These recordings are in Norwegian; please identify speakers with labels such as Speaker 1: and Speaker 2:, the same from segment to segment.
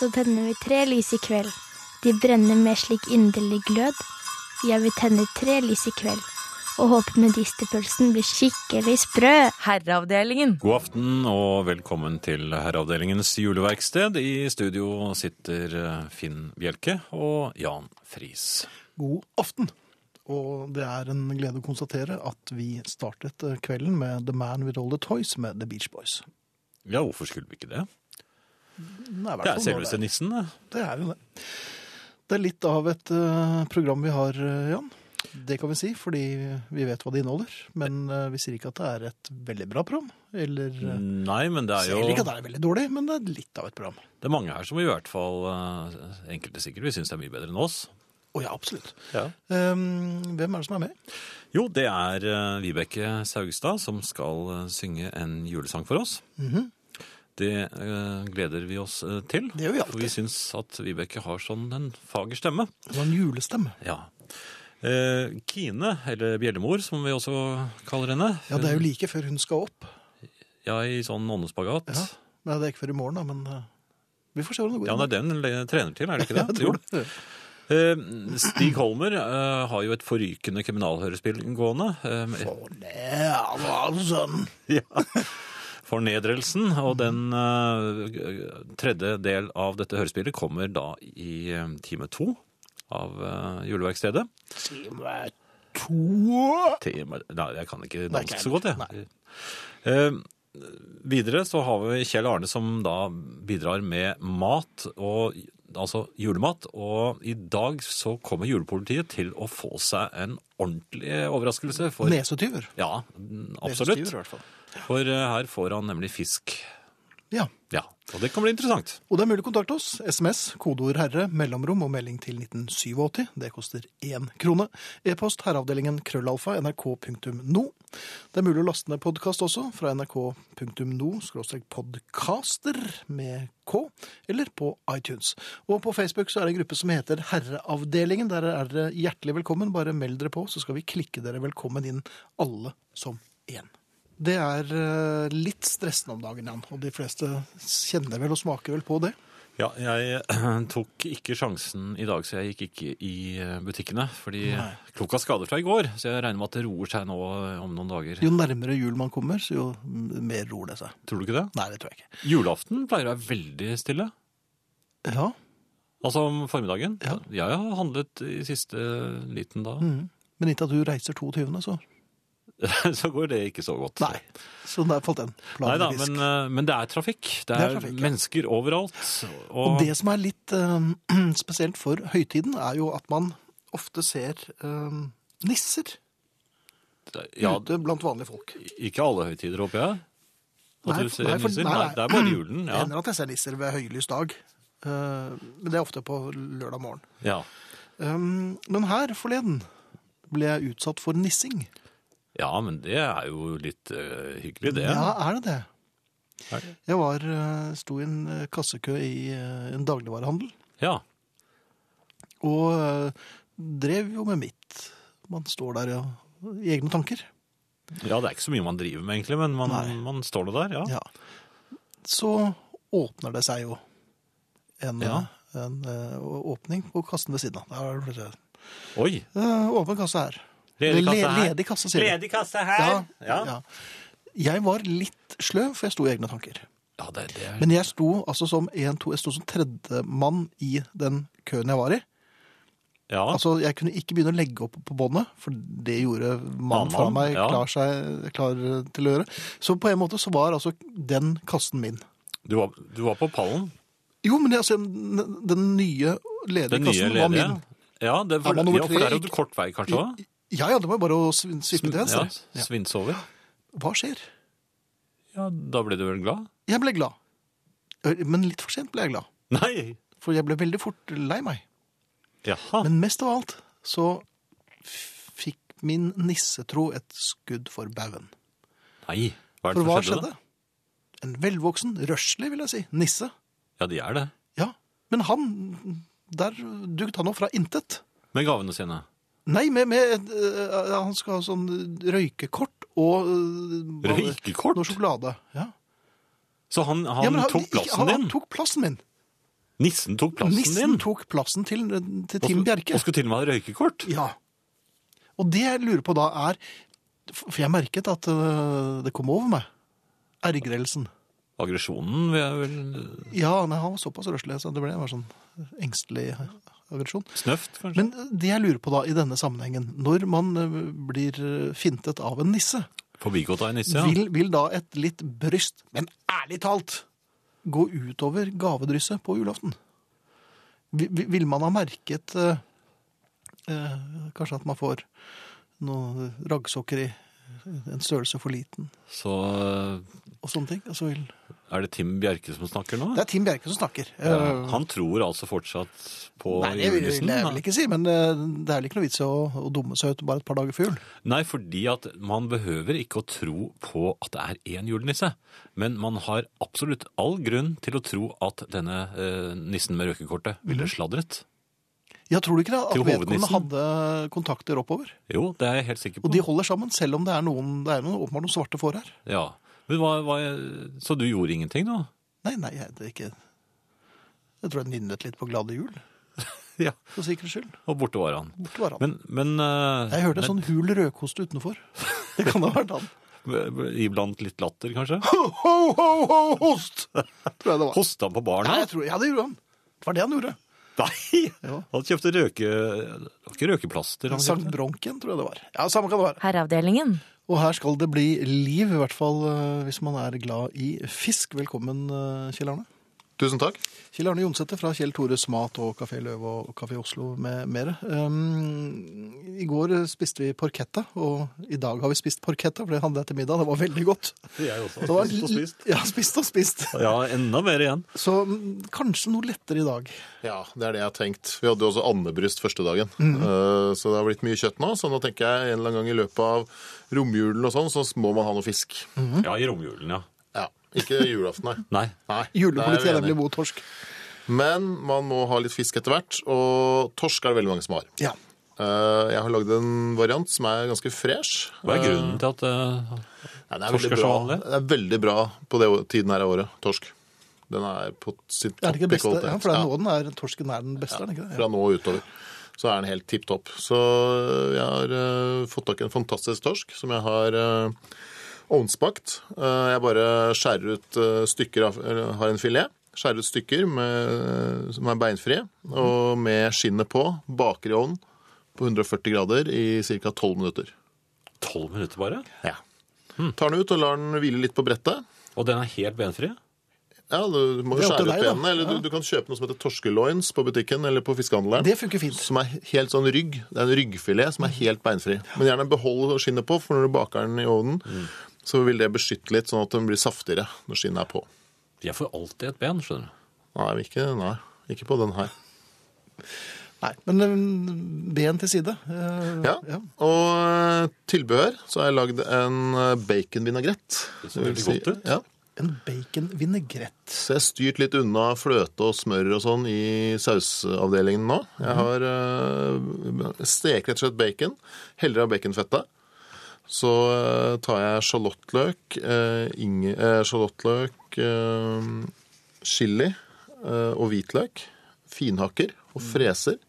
Speaker 1: så tenner vi tre lys i kveld. De brenner med slik inderlig glød. Jeg vil tenne tre lys i kveld, og håper medisterpølsen blir skikkelig sprø.
Speaker 2: Herreavdelingen.
Speaker 3: God aften og velkommen til Herreavdelingens juleverksted. I studio sitter eh, Finn Bjelke og Jan Friis.
Speaker 4: God aften. Og det er en glede å konstatere at vi startet eh, kvelden med The Man With All The Toys med The Beach Boys.
Speaker 3: Ja, hvorfor skulle vi ikke det?
Speaker 4: Den i hvert
Speaker 3: Det er
Speaker 4: fall nå
Speaker 3: selveste nissen. det.
Speaker 4: Det er jo det. Det er litt av et eh, program vi har, eh, Jan. Det kan vi si, fordi vi vet hva det inneholder. Men eh, vi sier ikke at det er et veldig bra program. Eller uh,
Speaker 3: Nei, men Mm, det er
Speaker 4: sier heller
Speaker 3: jo
Speaker 4: ikke at det er veldig dårlig, men det er litt av et program.
Speaker 3: Det er mange her som i hvert fall, eh, enkelte sikkert, vi syns det er mye bedre enn oss.
Speaker 4: Å ja, absolutt. Um, hvem er det som er med?
Speaker 3: Jo, det er eh, Vibeke Saugstad som skal eh, synge en julesang for oss. Det eh, gleder vi oss eh, til.
Speaker 4: Mhm. Det gjør vi
Speaker 3: For vi
Speaker 4: alltid.
Speaker 3: syns at Vibeke har sånn en fager stemme.
Speaker 4: Det var en julestemme.
Speaker 3: Ja. Eh, Kine, eller Bjellemor, som vi også kaller henne.
Speaker 4: Ja, det er jo like før hun skal opp.
Speaker 3: Ja, i sånn åndespagat.
Speaker 4: Ja. Nei, det er ikke før i morgen, da, men eh, vi får se hvordan det går.
Speaker 3: Ja, det er det hun le- trener til, er det ikke det?
Speaker 4: jeg tror
Speaker 3: Jo.
Speaker 4: det.
Speaker 3: Eh, Stig Holmer eh, har jo et forrykende kriminalhørespill gående. eh,
Speaker 4: Å, det var sånn.
Speaker 3: Fornedrelsen, og den eh, tredje del av dette hørespillet kommer da i eh, time to av eh, juleverkstedet.
Speaker 4: Time to
Speaker 3: Time, nei, jeg kan ikke
Speaker 4: Nei,
Speaker 3: dansk
Speaker 4: ikke
Speaker 3: så godt, jeg. Eh, videre så har vi Kjell Arne som da bidrar med mat, og, altså julemat, og i dag så kommer julepolitiet til å få seg en ordentlig overraskelse. For,
Speaker 4: Nesetyver.
Speaker 3: ja, absolutt.
Speaker 4: Nesetyver, i hvert fall.
Speaker 3: For eh, her får han nemlig fisk.
Speaker 4: Ja.
Speaker 3: Ja, og det kan bli interessant.
Speaker 4: Og det er mulig å kontakte oss. SMS, kodeord 'herre', mellomrom og melding til 1987. Det koster én krone. E-post herreavdelingen krøllalfa nrk.no. Det er mulig å laste ned podkast også, fra nrk.no skråstrek podcaster med k, eller på iTunes. Og på Facebook så er det en gruppe som heter Herreavdelingen. Der er dere hjertelig velkommen. Bare meld dere på, så skal vi klikke dere velkommen inn, alle som én. Det er eh, litt stressende om dagen, Jan. Og de fleste kjenner vel og smaker vel på det.
Speaker 3: Ja, jeg tok ikke sjansen i dag, så jeg gikk ikke i eh, butikkene. Fordi klokka skader fra i går, så jeg regner med at det roer seg nå om noen dager.
Speaker 4: Jo nærmere jul man kommer, så jo mer roer det seg.
Speaker 3: Tror du ikke det?
Speaker 4: Nei, det tror jeg ikke.
Speaker 3: Julaften pleier å være veldig stille.
Speaker 4: Ja,
Speaker 3: Altså om formiddagen.
Speaker 4: Ja. Mm.
Speaker 3: Jeg har handlet i siste liten da.
Speaker 4: Men ikke at du reiser 22., så
Speaker 3: så går det ikke så godt.
Speaker 4: Nei. Så der falt den.
Speaker 3: Nei
Speaker 4: planen
Speaker 3: da,
Speaker 4: i fisk.
Speaker 3: men, eh, men det er trafikk. Det
Speaker 4: Det er
Speaker 3: er,
Speaker 4: trafikk, ja.
Speaker 3: mennesker overalt.
Speaker 4: Og
Speaker 3: Og,
Speaker 4: det som er litt eh, spesielt for høytiden, er jo at man ofte ser eh, nisser
Speaker 3: ja,
Speaker 4: ute blant vanlige folk.
Speaker 3: ikke alle høytider, håper jeg. At
Speaker 4: Nei,
Speaker 3: du ser
Speaker 4: nei, for-
Speaker 3: nisser.
Speaker 4: nei,
Speaker 3: Nei,
Speaker 4: nei.
Speaker 3: det er bare julen.
Speaker 4: Det
Speaker 3: Ja.
Speaker 4: hender at jeg ser nisser ved høylys dag, eh, men det er ofte på lørdag morgen.
Speaker 3: ja.
Speaker 4: Um, men her forleden ble jeg utsatt for nissing.
Speaker 3: ja, men det er jo litt eh, hyggelig, det.
Speaker 4: Ja, er det det?
Speaker 3: Er det?
Speaker 4: Jeg var, eh, sto i en eh, kassekø i eh, en dagligvarehandel,
Speaker 3: Ja.
Speaker 4: og eh, drev jo med mitt. Man står der ja, i egne tanker.
Speaker 3: Ja, det er ikke så mye man driver med egentlig, men man,
Speaker 4: Nei.
Speaker 3: man står nå der, ja.
Speaker 4: Ja. Så åpner det seg jo en,
Speaker 3: Ja.
Speaker 4: eh, en eh, åpning på kassen ved siden av. Der er det-
Speaker 3: Oi,
Speaker 4: Eh, Åpen kasse her.
Speaker 3: Ledig kasse
Speaker 4: Le-
Speaker 3: her.
Speaker 4: Ledig kasse, sier de.
Speaker 3: kasse
Speaker 4: Ja,
Speaker 3: Ja,
Speaker 4: ja. Jeg var litt sløv, for jeg sto i egne tanker.
Speaker 3: Ja, det, det er...
Speaker 4: Men jeg sto altså som en, to, jeg sto som tredjemann i den køen jeg var i.
Speaker 3: Ja,
Speaker 4: Altså, Jeg kunne ikke begynne å legge opp på båndet, for det gjorde mannen
Speaker 3: Annen,
Speaker 4: foran meg
Speaker 3: ja.
Speaker 4: klar, seg, klar til å gjøre. Så på en måte så var altså den kassen min.
Speaker 3: du, var, du var på pallen.
Speaker 4: Jo, men altså, den nye ledige
Speaker 3: Den nye
Speaker 4: kassen var
Speaker 3: ledige.
Speaker 4: min.
Speaker 3: Ja, det
Speaker 4: Ja,
Speaker 3: var,
Speaker 4: men nummer
Speaker 3: ja, for
Speaker 4: tre
Speaker 3: der hadde
Speaker 4: gikk-
Speaker 3: du kort vei kanskje også.
Speaker 4: Ja, ja, det var bare å svin- svippe til
Speaker 3: Ja,
Speaker 4: venstre. Ja.
Speaker 3: svins altså. over.
Speaker 4: Hva skjer?
Speaker 3: Ja, da ble du vel glad?
Speaker 4: Jeg ble glad. Men litt for sent ble jeg glad,
Speaker 3: Nei!
Speaker 4: for jeg ble veldig fort lei meg.
Speaker 3: Jaha.
Speaker 4: Men mest av alt så f- fikk min nissetro et skudd for baugen.
Speaker 3: Nei, hva er
Speaker 4: For
Speaker 3: det
Speaker 4: hva
Speaker 3: som skjedde?
Speaker 4: skjedde? En velvoksen, røslig vil jeg si, nisse.
Speaker 3: Ja, de er det.
Speaker 4: Ja, men han, der dugget han opp fra intet.
Speaker 3: Med gavene sine.
Speaker 4: Nei, med, med øh, han skal ha sånn røykekort og øh, hva-
Speaker 3: Røykekort?
Speaker 4: Noe sjokolade. Ja.
Speaker 3: Så han, han
Speaker 4: Ja, men
Speaker 3: tok
Speaker 4: ikke- han,
Speaker 3: plassen
Speaker 4: Han
Speaker 3: din?
Speaker 4: tok plassen min.
Speaker 3: Nissen tok plassen
Speaker 4: Nissen
Speaker 3: din.
Speaker 4: tok plassen til, til
Speaker 3: Og
Speaker 4: Tim
Speaker 3: skulle-
Speaker 4: Bjerke.
Speaker 3: Og skulle til og med ha røykekort.
Speaker 4: Ja. Og det jeg lurer på da er For jeg merket at øh, det kom over meg. Ergrelsen.
Speaker 3: Aggresjonen vil jeg vel eh,
Speaker 4: Ja, nei, han var såpass røslig, så det ble bare sånn engstelig aggresjon.
Speaker 3: Snøft, kanskje?
Speaker 4: Men øh, det jeg lurer på da, i denne sammenhengen Når man øh, blir øh, fintet av en nisse,
Speaker 3: Forbigått av en nisse, ja.
Speaker 4: vil, vil da et litt bryst, men ærlig talt, gå utover gavedrysset på julaften? Vi- vi- Vil man ha merket eh, eh, kanskje at man får noe raggsokker i en størrelse for liten,
Speaker 3: Så
Speaker 4: og sånne ting? Altså, vil...
Speaker 3: eh, er det Tim Bjerke som snakker nå?
Speaker 4: Det er Tim Bjerke som snakker.
Speaker 3: Ja,
Speaker 4: Eh,
Speaker 3: han tror altså fortsatt på
Speaker 4: Nei, det vil
Speaker 3: julenissen?
Speaker 4: vil jeg
Speaker 3: da.
Speaker 4: vel ikke si, men eh, det er vel ikke noe vits i å, å dumme seg ut bare et par dager før jul.
Speaker 3: Nei, fordi at man behøver ikke å tro på at det er én julenisse. Men man har absolutt all grunn til å tro at denne eh, nissen med røykekortet ville sladret.
Speaker 4: Ja, tror du ikke det? At
Speaker 3: Til
Speaker 4: vedkommende
Speaker 3: hovednissen?
Speaker 4: hadde kontakter oppover.
Speaker 3: Jo, det er jeg helt sikker på.
Speaker 4: Og de holder sammen, selv om det er noen, det er noen, åpenbart noen svarte får her.
Speaker 3: Ja. Men hva, hva, så du gjorde ingenting, da?
Speaker 4: Nei, nei, jeg, det er ikke Jeg tror jeg nynnet litt på Glade jul,
Speaker 3: Ja.
Speaker 4: for sikkerhets skyld.
Speaker 3: Og borte var han.
Speaker 4: Borte var han.
Speaker 3: Men, men eh,
Speaker 4: jeg hørte
Speaker 3: men-
Speaker 4: sånn hul rødkoste utenfor. Det kan ha vært han.
Speaker 3: eh, Iblant litt latter, kanskje?
Speaker 4: Ho, ho, ho, host! Tror jeg det var.
Speaker 3: Hosta han på
Speaker 4: Ja,
Speaker 3: barna?
Speaker 4: jeg tror, ja, det gjorde han. Det var det han gjorde.
Speaker 3: Nei!
Speaker 4: Ja.
Speaker 3: Han kjøpte røke... det var Ikke røkeplaster. Han
Speaker 4: Sankt
Speaker 3: kjøpte.
Speaker 4: Bronken, tror jeg det var. Ja, Samme kan det være.
Speaker 2: Herreavdelingen.
Speaker 4: Og her skal det bli liv, i hvert fall eh, hvis man er glad i fisk. Velkommen, eh, Kjell Arne.
Speaker 5: Tusen takk.
Speaker 4: Kjell Arne Jonsæter fra Kjell Tores Mat og Kafé Løv og Kafé Oslo med mere. Um, I går spiste vi porchetta, og i dag har vi spist porchetta, for det handlet jeg til middag. Det var veldig godt.
Speaker 3: Jeg også.
Speaker 4: Det var, Ja, spist og spist.
Speaker 3: Ja, enda mer igjen.
Speaker 4: Så mm, kanskje noe lettere i dag.
Speaker 5: Ja, det er det jeg har tenkt. Vi hadde jo også andebryst første dagen.
Speaker 4: Mm.
Speaker 5: Eh, Så det har blitt mye kjøtt nå. Så nå tenker jeg en eller annen gang i løpet av romjulen og sånn, så må man ha noe fisk.
Speaker 4: Mm.
Speaker 3: Ja, i romjulen, ja.
Speaker 5: Ja, Ikke julaften, nei.
Speaker 3: Nei.
Speaker 5: nei
Speaker 4: Julepolitiet
Speaker 5: det
Speaker 4: er
Speaker 5: er jeg
Speaker 4: nemlig
Speaker 5: enig i.
Speaker 4: mot torsk.
Speaker 5: Men man må ha litt fisk etter hvert. Og torsk er det veldig mange som har.
Speaker 4: Ja.
Speaker 5: Eh, Jeg har lagd en variant som er ganske fresh.
Speaker 3: Hva er grunnen til at eh,
Speaker 5: Nei, det er
Speaker 3: Torsk
Speaker 5: veldig
Speaker 3: er så
Speaker 5: bra.
Speaker 3: vanlig?
Speaker 5: Det er veldig bra på det å- tiden her av året. Torsk. Den er på sitt
Speaker 4: Er det ikke
Speaker 5: topp i
Speaker 4: beste?
Speaker 5: kvalitet.
Speaker 4: Ja, for det
Speaker 5: Ja.
Speaker 4: er nå den er, torsken er den beste, er den ikke det?
Speaker 5: fra nå og utover. Så er den helt tipp topp. Så jeg har eh, fått tak i en fantastisk torsk som jeg har uh, ovnsbakt. Eh, jeg bare skjærer ut eh, stykker av eller Har en filet. Skjærer ut stykker med, som er beinfrie, og med skinnet på. Baker i ovnen på 140 grader i ca. 12 minutter.
Speaker 3: Tolv minutter bare?
Speaker 4: Mm.
Speaker 5: Tar den ut og lar den hvile litt på brettet.
Speaker 3: Og den er helt benfri?
Speaker 5: Ja, Du må
Speaker 4: Det
Speaker 5: jo
Speaker 4: er opp til
Speaker 5: skjære ut
Speaker 4: deg, da.
Speaker 5: benene, eller
Speaker 4: Ja.
Speaker 5: du, du kan kjøpe noe som heter torskeloins på butikken eller på fiskehandleren.
Speaker 4: Det funker fint.
Speaker 5: som er helt sånn rygg. Det er en ryggfilet som er helt beinfri. Men gjerne behold skinnet på, for når du baker den i ovnen, så vil det beskytte litt, sånn at den blir saftigere når skinnet er på.
Speaker 3: Jeg får alltid et ben, skjønner du.
Speaker 5: Nei, ikke, nei, ikke på den her.
Speaker 4: Nei, men mm, ben til side. Eh,
Speaker 5: Ja.
Speaker 4: ja.
Speaker 5: Og eh, tilbehør, så har jeg lagd en eh, baconvinagrett.
Speaker 3: Det ser
Speaker 5: vil
Speaker 3: veldig
Speaker 5: si-
Speaker 3: godt ut.
Speaker 5: Ja.
Speaker 4: En bacon-vinegrett.
Speaker 5: Så jeg har styrt litt unna fløte og smør og sånn i sausavdelingen nå.
Speaker 4: Mhm.
Speaker 5: Jeg har eh, steker rett og slett bacon. Heller av baconfettet. Så eh, tar jeg sjalottløk, eh, inge- eh, sjalottløk, eh, chili eh, og hvitløk. Finhakker og
Speaker 4: Mhm.
Speaker 5: freser.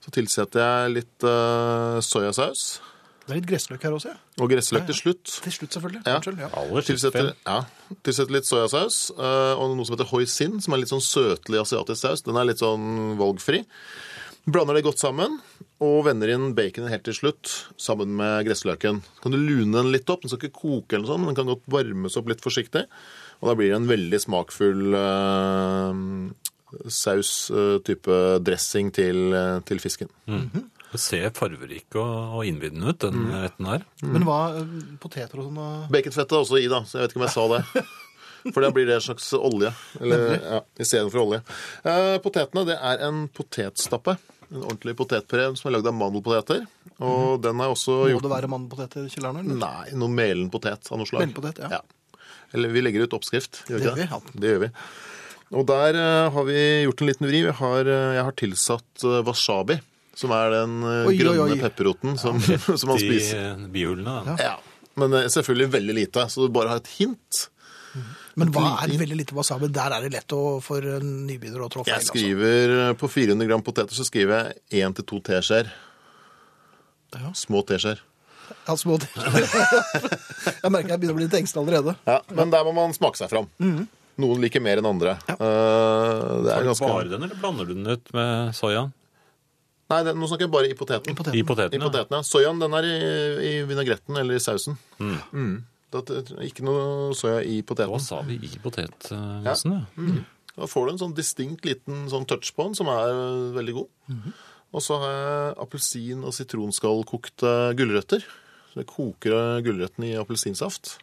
Speaker 5: Så tilsetter jeg litt eh, soyasaus
Speaker 4: Det er litt gressløk her også, ja.
Speaker 5: og gressløk til slutt.
Speaker 4: Til slutt, selvfølgelig.
Speaker 5: Ja.
Speaker 4: Unnskyld, ja.
Speaker 3: Aller sist,
Speaker 5: Tilsetter,
Speaker 3: Ben.
Speaker 5: ja, tilsetter litt soyasaus eh, og noe som heter hoisin, som er litt sånn søtlig asiatisk saus. Den er litt sånn valgfri. Blander det godt sammen og vender inn baconen helt til slutt sammen med gressløken. Så kan du lune den litt opp. Den skal ikke koke, eller noe sånt, men den kan godt varmes opp litt forsiktig. Og da blir det en veldig smakfull eh, saus, eh, type dressing til, eh, til fisken.
Speaker 3: Det ser farverik og, og innbydende ut, den
Speaker 5: Mm.
Speaker 3: retten her.
Speaker 4: Men hva eh, Poteter og sånn? og-
Speaker 5: Baconfett er også i, da, så jeg vet ikke om jeg sa det. For da blir det en slags olje. Eller, ja, Istedenfor olje. Eh, potetene det er en potetstappe. En ordentlig potetpuré som er lagd av mandelpoteter. Og den er også
Speaker 4: Mhm. Må
Speaker 5: gjort
Speaker 4: det være mannpoteter, Kjell Arne? eller?
Speaker 5: Nei, noe melen potet av noe slag.
Speaker 4: Melenpotet, ja.
Speaker 5: Eller vi legger ut oppskrift. Gjør vi
Speaker 4: Det
Speaker 5: ikke
Speaker 4: gjør vi,
Speaker 5: Det gjør vi. Og der eh, har vi gjort en liten vri. Vi har, eh, jeg har tilsatt eh, wasabi, som er den eh,
Speaker 4: Oi, oi, oi.
Speaker 5: grønne pepperroten som, som man
Speaker 3: De
Speaker 5: spiser.
Speaker 3: eh, bihulene. da.
Speaker 5: Ja, men eh, selvfølgelig veldig lite, så du bare har et hint.
Speaker 4: Men hva er
Speaker 5: lite-
Speaker 4: veldig lite wasabi? Der er det lett å, for en nybegynner å trå feil.
Speaker 5: Jeg
Speaker 4: altså.
Speaker 5: skriver eh, på 400 gram poteter så skriver jeg 1 til to teskjeer.
Speaker 4: Ja.
Speaker 5: Små teskjeer.
Speaker 4: Ja, små ting. jeg merker jeg begynner å bli litt engstelig allerede.
Speaker 5: Ja, men Mhm. der må man smake seg fram. Noen liker mer enn andre. Eh, det
Speaker 3: Er
Speaker 5: er
Speaker 3: det
Speaker 5: ganske...
Speaker 3: bare den, eller blander du den ut med soyaen?
Speaker 5: Nei, det, nå snakker jeg bare i poteten.
Speaker 4: I poteten.
Speaker 3: I poteten,
Speaker 5: I poteten, ja. Soyaen den er i, i vinagretten eller i sausen. Mm. Da, ikke noe soya i
Speaker 3: ja.
Speaker 5: poteten.
Speaker 3: Wasabi i potetmassen,
Speaker 5: Mm.
Speaker 3: ja.
Speaker 5: Da får du en sånn distinkt liten sånn touch på den, som er øh, veldig god. Og så har jeg appelsin- og sitronskallkokte gulrøtter. Så jeg koker øh, gulrøttene i appelsinsaft.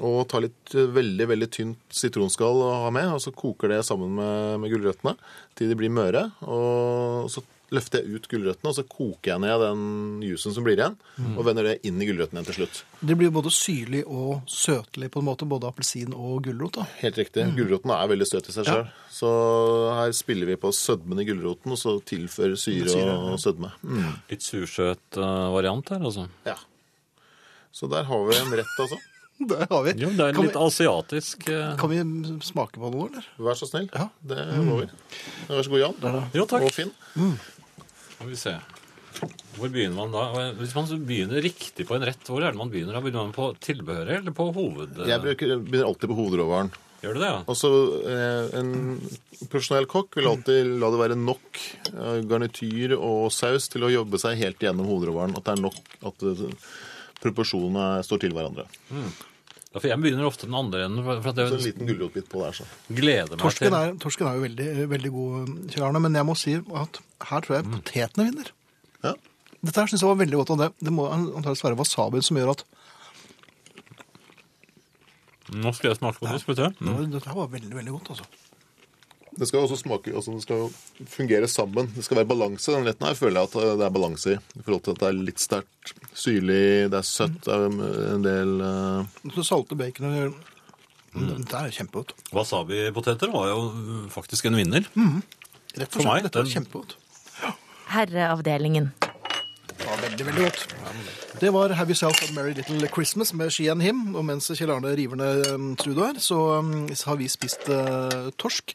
Speaker 5: Og tar litt øh, veldig veldig tynt sitronskall å ha med, og så koker det sammen med, med gulrøttene til de blir møre. Og så løfter jeg ut gulrøttene, og så koker jeg ned den juicen som blir igjen. Og vender det inn i gulrøttene igjen til slutt.
Speaker 4: Det blir jo både syrlig og søtlig på en måte, både appelsin og gulrot. da.
Speaker 5: Helt riktig. Gulroten er veldig søt i seg sjøl. Så her spiller vi på sødmen i gulroten, og så tilfører syre,
Speaker 4: Syre,
Speaker 5: og sødme. Mm.
Speaker 3: Litt sursøt eh, variant her, altså.
Speaker 5: Ja. Så der har vi en rett, altså.
Speaker 4: Der har vi.
Speaker 3: Jo, det er
Speaker 4: kan,
Speaker 3: litt asiatisk eh,
Speaker 4: vi kan vi smake på noe, eller?
Speaker 5: Vær så snill.
Speaker 4: Ja.
Speaker 5: Det må vi. Vær så god, Jan.
Speaker 3: Jo, takk.
Speaker 5: Og Finn.
Speaker 3: Skal vi se. Hvor begynner man da? Hvis man begynner riktig på en rett, hvor er det man begynner? da? Begynner man på tilbehøret eller på hoved...
Speaker 5: Jeg bruker, begynner alltid på hovedråvaren.
Speaker 3: Gjør du det, ja?
Speaker 5: Og så eh, En profesjonell kokk vil alltid la det være nok eh, garnityr og saus til å jobbe seg helt gjennom hovedråvaren. At det er nok at eh, proporsjonene står til hverandre.
Speaker 3: Ja, For jeg begynner ofte den andre enden, for for at
Speaker 5: Så en
Speaker 3: jeg
Speaker 5: liten gulrotbit på der, så.
Speaker 3: gleder meg
Speaker 4: Torsken
Speaker 3: til
Speaker 4: er, torsken er jo veldig, veldig god, Kjell Arne, men jeg må si at her
Speaker 3: Mm.
Speaker 4: tror jeg potetene vinner.
Speaker 5: Ja.
Speaker 4: Dette her synes jeg var veldig godt, og det, det må antageligvis være wasabien som gjør at
Speaker 3: Nå skal jeg smake på det, skal vi se.
Speaker 4: det var- Dette her var veldig, veldig godt, altså.
Speaker 5: Det skal jo også smake, altså det skal jo fungere sammen. Det skal være balanse. Den retten her føler jeg at eh, det er balanse i. I forhold til at det er litt sterkt, syrlig, det er søtt, det er en del eh,
Speaker 4: Så salte baconet
Speaker 3: Mm.
Speaker 4: Dette er kjempegodt.
Speaker 3: Wasabi-poteter var jo mm, faktisk en vinner.
Speaker 4: Rett
Speaker 3: For
Speaker 4: og slett.
Speaker 3: meg,
Speaker 4: Dette var
Speaker 3: den-
Speaker 4: kjempegodt.
Speaker 2: Herreavdelingen.
Speaker 4: Det var veldig, veldig godt. Det var Have Yourself a Merry Little Christmas med She and Him. Og mens Kjell Arne river ned um, Trudo her, så um, har vi spist eh, torsk.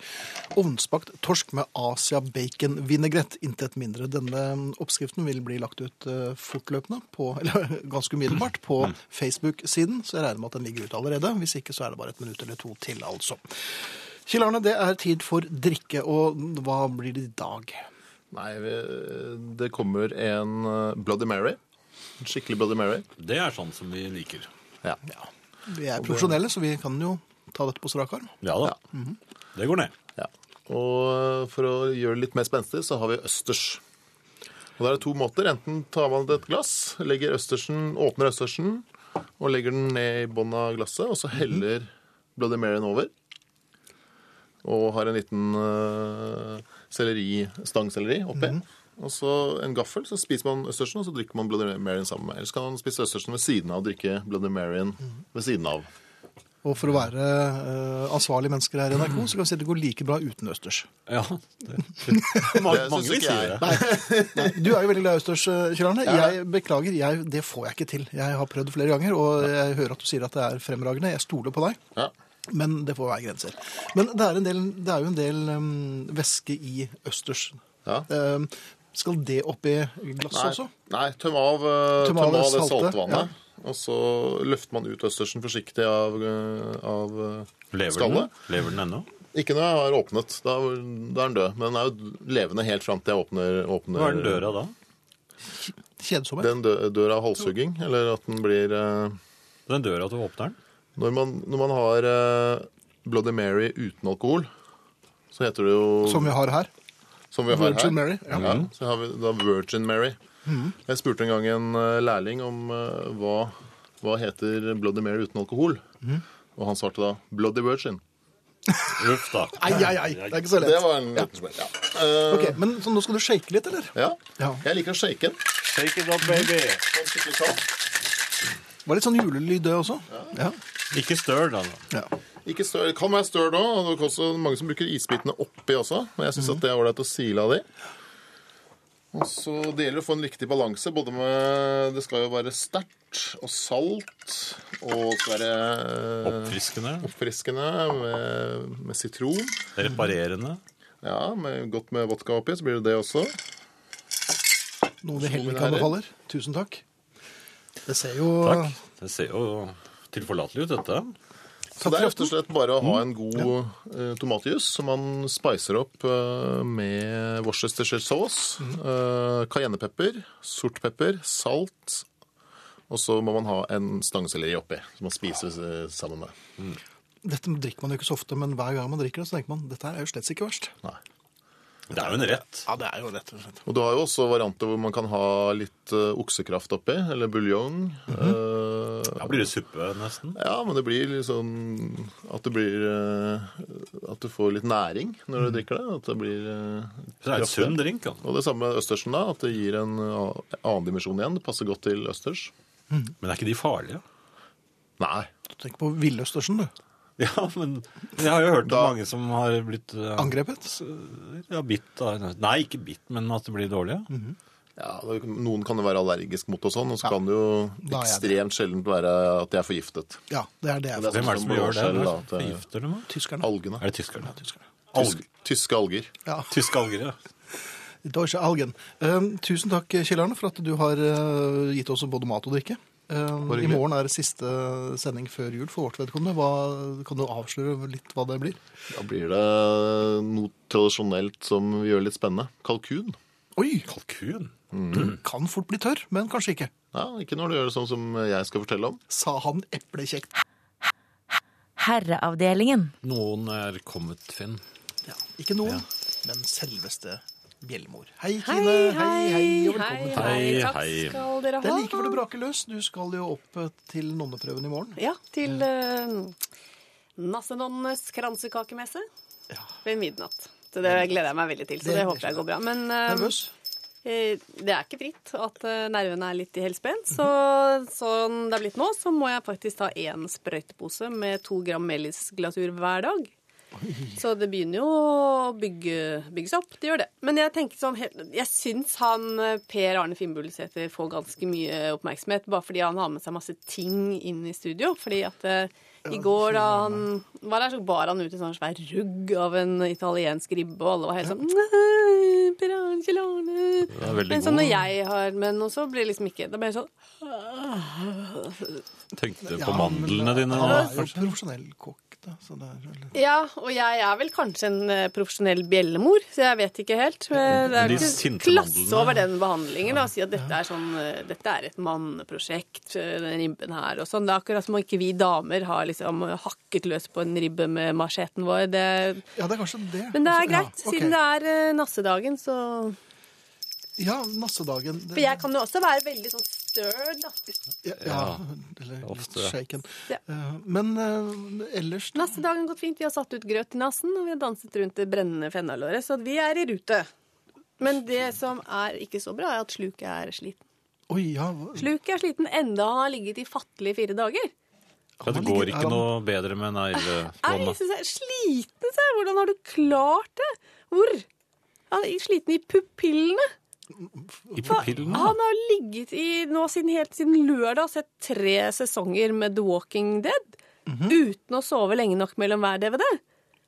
Speaker 4: Ovnsbakt torsk med Asia bacon vinaigrette. Intet mindre. Denne um, oppskriften vil bli lagt ut eh, fortløpende, på, eller ganske umiddelbart, på Facebook-siden. Så jeg regner med at den ligger ute allerede. Hvis ikke, så er det bare et minutt eller to til, altså. Kjell Arne, det er tid for drikke, og hva blir det i dag?
Speaker 5: Nei, vi- det kommer en eh, Bloody Mary. En skikkelig Bloody Mary.
Speaker 3: Det er sånn som vi liker.
Speaker 5: Ja.
Speaker 4: Vi er profesjonelle, så vi kan jo ta dette på strak arm.
Speaker 3: Ja da. Det går ned.
Speaker 5: ja. Og eh, for å gjøre det litt mer spenstig, så har vi østers. Og da er det to måter. Enten tar man det i et glass, legger østersen, åpner østersen og legger den ned i bånn av glasset, og
Speaker 3: Mhm.
Speaker 5: så heller Bloody Maryen over. Og har en liten eh, selleri, stangselleri oppi.
Speaker 3: Mhm.
Speaker 5: Og så en gaffel, så spiser man østersen, og så drikker man Bloody Maryen sammen med. Ellers kan man spise østersen ved siden av og drikke Bloody Maryen
Speaker 3: Mhm.
Speaker 5: ved siden av.
Speaker 4: Og for å være eh, ansvarlige mennesker her i NRK, så kan vi si at det går like bra uten østers.
Speaker 3: Ja. Det, mange
Speaker 5: synes
Speaker 3: mange
Speaker 5: ikke
Speaker 3: sier
Speaker 5: jeg.
Speaker 3: det.
Speaker 4: Du er jo veldig glad i østers, eh, Kjell Arne. Jeg beklager, jeg, det får jeg ikke til. Jeg har prøvd flere ganger, og jeg hører at du sier at det er fremragende. Jeg stoler på deg.
Speaker 5: Ja.
Speaker 4: Men det får være grenser. Men det er, en del, det er jo en del eh, væske i østers.
Speaker 5: Ja.
Speaker 4: Eh, skal det oppi glasset
Speaker 5: Nei,
Speaker 4: også?
Speaker 5: nei tøm av, eh,
Speaker 4: Sånn, Tøm
Speaker 5: tøm
Speaker 4: av
Speaker 5: av
Speaker 4: det
Speaker 5: det
Speaker 4: salte,
Speaker 5: saltvannet. Og så løfter man ut østersen forsiktig av, eh, av eh,
Speaker 3: Lever den?
Speaker 5: skallet.
Speaker 3: Lever den ennå?
Speaker 5: Ikke når jeg har åpnet. Da, da er den død. Men den er jo levende helt fram til jeg åpner, åpner
Speaker 3: Hva er den døra da?
Speaker 4: Kjedsomhet?
Speaker 5: Den dø- dør av halshugging. Eller at den blir eh,
Speaker 3: Den døra at du åpner den?
Speaker 5: Når man, når man har eh, Bloody Mary uten alkohol, så heter det jo
Speaker 4: Som vi har her.
Speaker 5: Som vi har
Speaker 4: Virgin
Speaker 5: her.
Speaker 4: Mary, ja.
Speaker 5: Ja. så har vi da Virgin Mary. Jeg spurte en gang en eh, lærling om eh, hva, hva heter Bloody Mary uten alkohol. Og han svarte da Bloody Virgin.
Speaker 3: Uff da.
Speaker 4: Ai, ai, ai. Det er ikke så lett.
Speaker 5: Det var en liten smell. Ja. Eh,
Speaker 4: Ok, men så nå skal du shake litt, eller?
Speaker 5: ja.
Speaker 4: Ja.
Speaker 5: Jeg liker å shake den.
Speaker 3: Take it up, baby.
Speaker 5: Sånn skikkelig kald.
Speaker 4: Det var litt sånn julelyd det også. Ja.
Speaker 3: Ikke støl, da.
Speaker 4: ja.
Speaker 5: Ikke stør, det kan være støl òg. og Det er også mange som bruker isbitene oppi også. Men jeg syns at det er ålreit å sile av de. Og så Det gjelder å få en riktig balanse. både med, Det skal jo være sterkt og salt. Og så være eh,
Speaker 3: Oppfriskende,
Speaker 5: oppfriskende med, med sitron.
Speaker 3: reparerende.
Speaker 5: Ja, med, godt med vodka oppi, så blir det det også.
Speaker 4: Noe vi heller
Speaker 5: mine
Speaker 4: ikke
Speaker 5: herrer.
Speaker 4: anbefaler. Tusen takk. Det ser jo
Speaker 3: Takk. Det ser jo tilforlatelig ut, dette.
Speaker 5: Så det er rett og slett bare å ha en god eh, tomatjus som man spicer opp eh, med Worcestershire sauce, eh, cayennepepper, sort pepper, salt, og så må man ha en stangselleri oppi, som man spiser eh, sammen med.
Speaker 4: Dette drikker man jo ikke så ofte, men hver gang man drikker det, så tenker man dette er jo slett ikke verst.
Speaker 5: Nei.
Speaker 3: Det er jo en rett.
Speaker 4: Ja, det er jo rett og slett.
Speaker 5: Og du har jo også varianter hvor man kan ha litt eh, oksekraft oppi, eller buljong. eh,
Speaker 3: Da blir det suppe, nesten.
Speaker 5: Ja, men det blir litt sånn at det blir eh, At du får litt næring når du drikker det. At det blir eh,
Speaker 3: Mm. Så det er en
Speaker 5: kraftig.
Speaker 3: sunn drink. altså.
Speaker 5: Og det samme med østersen, da, at det gir en eh, annen dimensjon igjen. Det passer godt til østers.
Speaker 3: Men er ikke de farlige?
Speaker 5: Nei.
Speaker 4: Du tenker på villøstersen, du.
Speaker 3: Ja, men jeg har jo hørt om
Speaker 5: Da-
Speaker 3: mange som har blitt eh,
Speaker 4: Angrepet.
Speaker 3: Ja, bitt av Nei, ikke bitt, men at det blir dårlige.
Speaker 5: Ja, det- noen kan jo være allergisk mot og sånn, og så
Speaker 4: Ja.
Speaker 5: kan det jo
Speaker 4: Da er jeg det.
Speaker 5: ekstremt sjelden være at de er forgiftet.
Speaker 4: Ja, det er det jeg
Speaker 5: Det er
Speaker 4: får.
Speaker 3: Hvem er det som
Speaker 5: Som
Speaker 3: gjør det?
Speaker 5: blåskjell,
Speaker 3: Hva er det som
Speaker 5: da, at det-
Speaker 3: Forgifter dem? da?
Speaker 4: Tyskerne.
Speaker 5: Algene.
Speaker 3: Er det tyskerne?
Speaker 5: Tysk,
Speaker 3: Alg,
Speaker 5: tyske alger.
Speaker 4: Ja,
Speaker 3: tyske algere.
Speaker 4: Deutsche Algen. Eh, tusen takk, Kjell Arne, for at du har eh, gitt oss både mat og drikke. Eh, I
Speaker 5: hyggelig.
Speaker 4: morgen er det siste sending før jul for vårt vedkommende. Hva, kan du avsløre litt hva det blir?
Speaker 5: Da blir det eh, noe tradisjonelt som vi gjør litt spennende. Kalkun.
Speaker 4: Oi,
Speaker 3: Kalkun?
Speaker 5: Mm.
Speaker 4: kan fort bli tørr, men kanskje ikke.
Speaker 5: Ja, Ikke når du gjør det sånn som jeg skal fortelle om.
Speaker 4: Sa han eplekjekt.
Speaker 2: Herreavdelingen.
Speaker 3: Noen er kommet, Finn.
Speaker 4: Ja, ikke noen, men selveste Bjellmor. Hei,
Speaker 2: Hei,
Speaker 4: Kine.
Speaker 2: hei,
Speaker 4: og velkommen.
Speaker 3: hei.
Speaker 6: Takk
Speaker 3: hei.
Speaker 6: skal dere ha.
Speaker 4: Det er like før det braker løs. Du skal jo opp eh, til nonneprøven i morgen.
Speaker 6: Ja, til uh, Nassenonnenes kransekakemesse
Speaker 4: Ja.
Speaker 6: ved midnatt. Så det gleder jeg meg veldig til, så
Speaker 4: Det
Speaker 6: det,
Speaker 4: gleder
Speaker 6: håper jeg går bra. Men eh,
Speaker 4: Nervøs?
Speaker 6: eh, det er ikke fritt at eh, nervene er litt i helspenn, så
Speaker 4: Mhm.
Speaker 6: sånn det er blitt nå, så må jeg faktisk ta én sprøytepose med to gram melisglasur hver dag. Så det begynner jo å bygge, bygges opp. Det gjør det. Men jeg tenker sånn helt- Jeg syns han eh, Per Arne Finnbulsæter får ganske mye oppmerksomhet bare fordi han har med seg masse ting inn i studio. Fordi at eh, i går da han var der, så bar han ut en sånn svær rugg av en italiensk ribbe, og alle var helt sånn «Nei, Per Arne Kjell
Speaker 3: er
Speaker 6: Arne.
Speaker 3: veldig
Speaker 6: Men sånn når
Speaker 3: god.
Speaker 6: jeg har med noe, så blir det liksom ikke Da blir jeg sånn
Speaker 3: Tenkte
Speaker 4: Ja,
Speaker 3: på mandlene
Speaker 4: men, eh,
Speaker 3: dine.
Speaker 4: Han
Speaker 3: nå.
Speaker 4: er jo profesjonell kokk, da. Så det er vel...
Speaker 6: Ja, og jeg er vel kanskje en eh, profesjonell bjellemor, så jeg vet ikke helt. Men det er
Speaker 3: De
Speaker 6: jo ikke
Speaker 3: sinte
Speaker 6: klasse
Speaker 3: mandlene.
Speaker 6: over den behandlingen da, å si at dette er, sånn, eh, dette er et manneprosjekt, eh, den ribben her og sånn. Det er akkurat som om ikke vi damer har liksom hakket løs på en ribbe med macheten vår. Det,
Speaker 4: Ja, det er kanskje det.
Speaker 6: men det er
Speaker 4: Ja,
Speaker 6: greit,
Speaker 4: ok.
Speaker 6: siden det er eh, nassedagen, så
Speaker 4: Ja, nassedagen. Det-
Speaker 6: For jeg kan jo også være veldig sånn støl, da.
Speaker 4: Ja,
Speaker 3: Ja,
Speaker 4: eller
Speaker 3: ofte.
Speaker 4: litt shaken.
Speaker 6: Ja.
Speaker 4: Eh, Men eh, ellers da?
Speaker 6: Nassedagen har gått fint. Vi har satt ut grøt til nassen, og vi har danset rundt det brennende fennalåret, så vi er i rute. Men det som er ikke så bra, er at sluket er sliten.
Speaker 4: Oi, ja. hva-
Speaker 6: Sluket er sliten enda han har ligget i fattelige fire dager.
Speaker 3: Ja, det går
Speaker 4: han ligger- er
Speaker 3: ikke
Speaker 4: han-
Speaker 3: noe bedre med
Speaker 6: Er,
Speaker 3: negleskålene.
Speaker 6: synes jeg, sliten, sa jeg! Hvordan har du klart det? Hvor? Han er sliten i pupillene.
Speaker 3: I pupillene?
Speaker 6: Han har ligget i nå siden, helt siden lørdag og sett tre sesonger med The Walking Dead. Uten å sove lenge nok mellom hver DVD.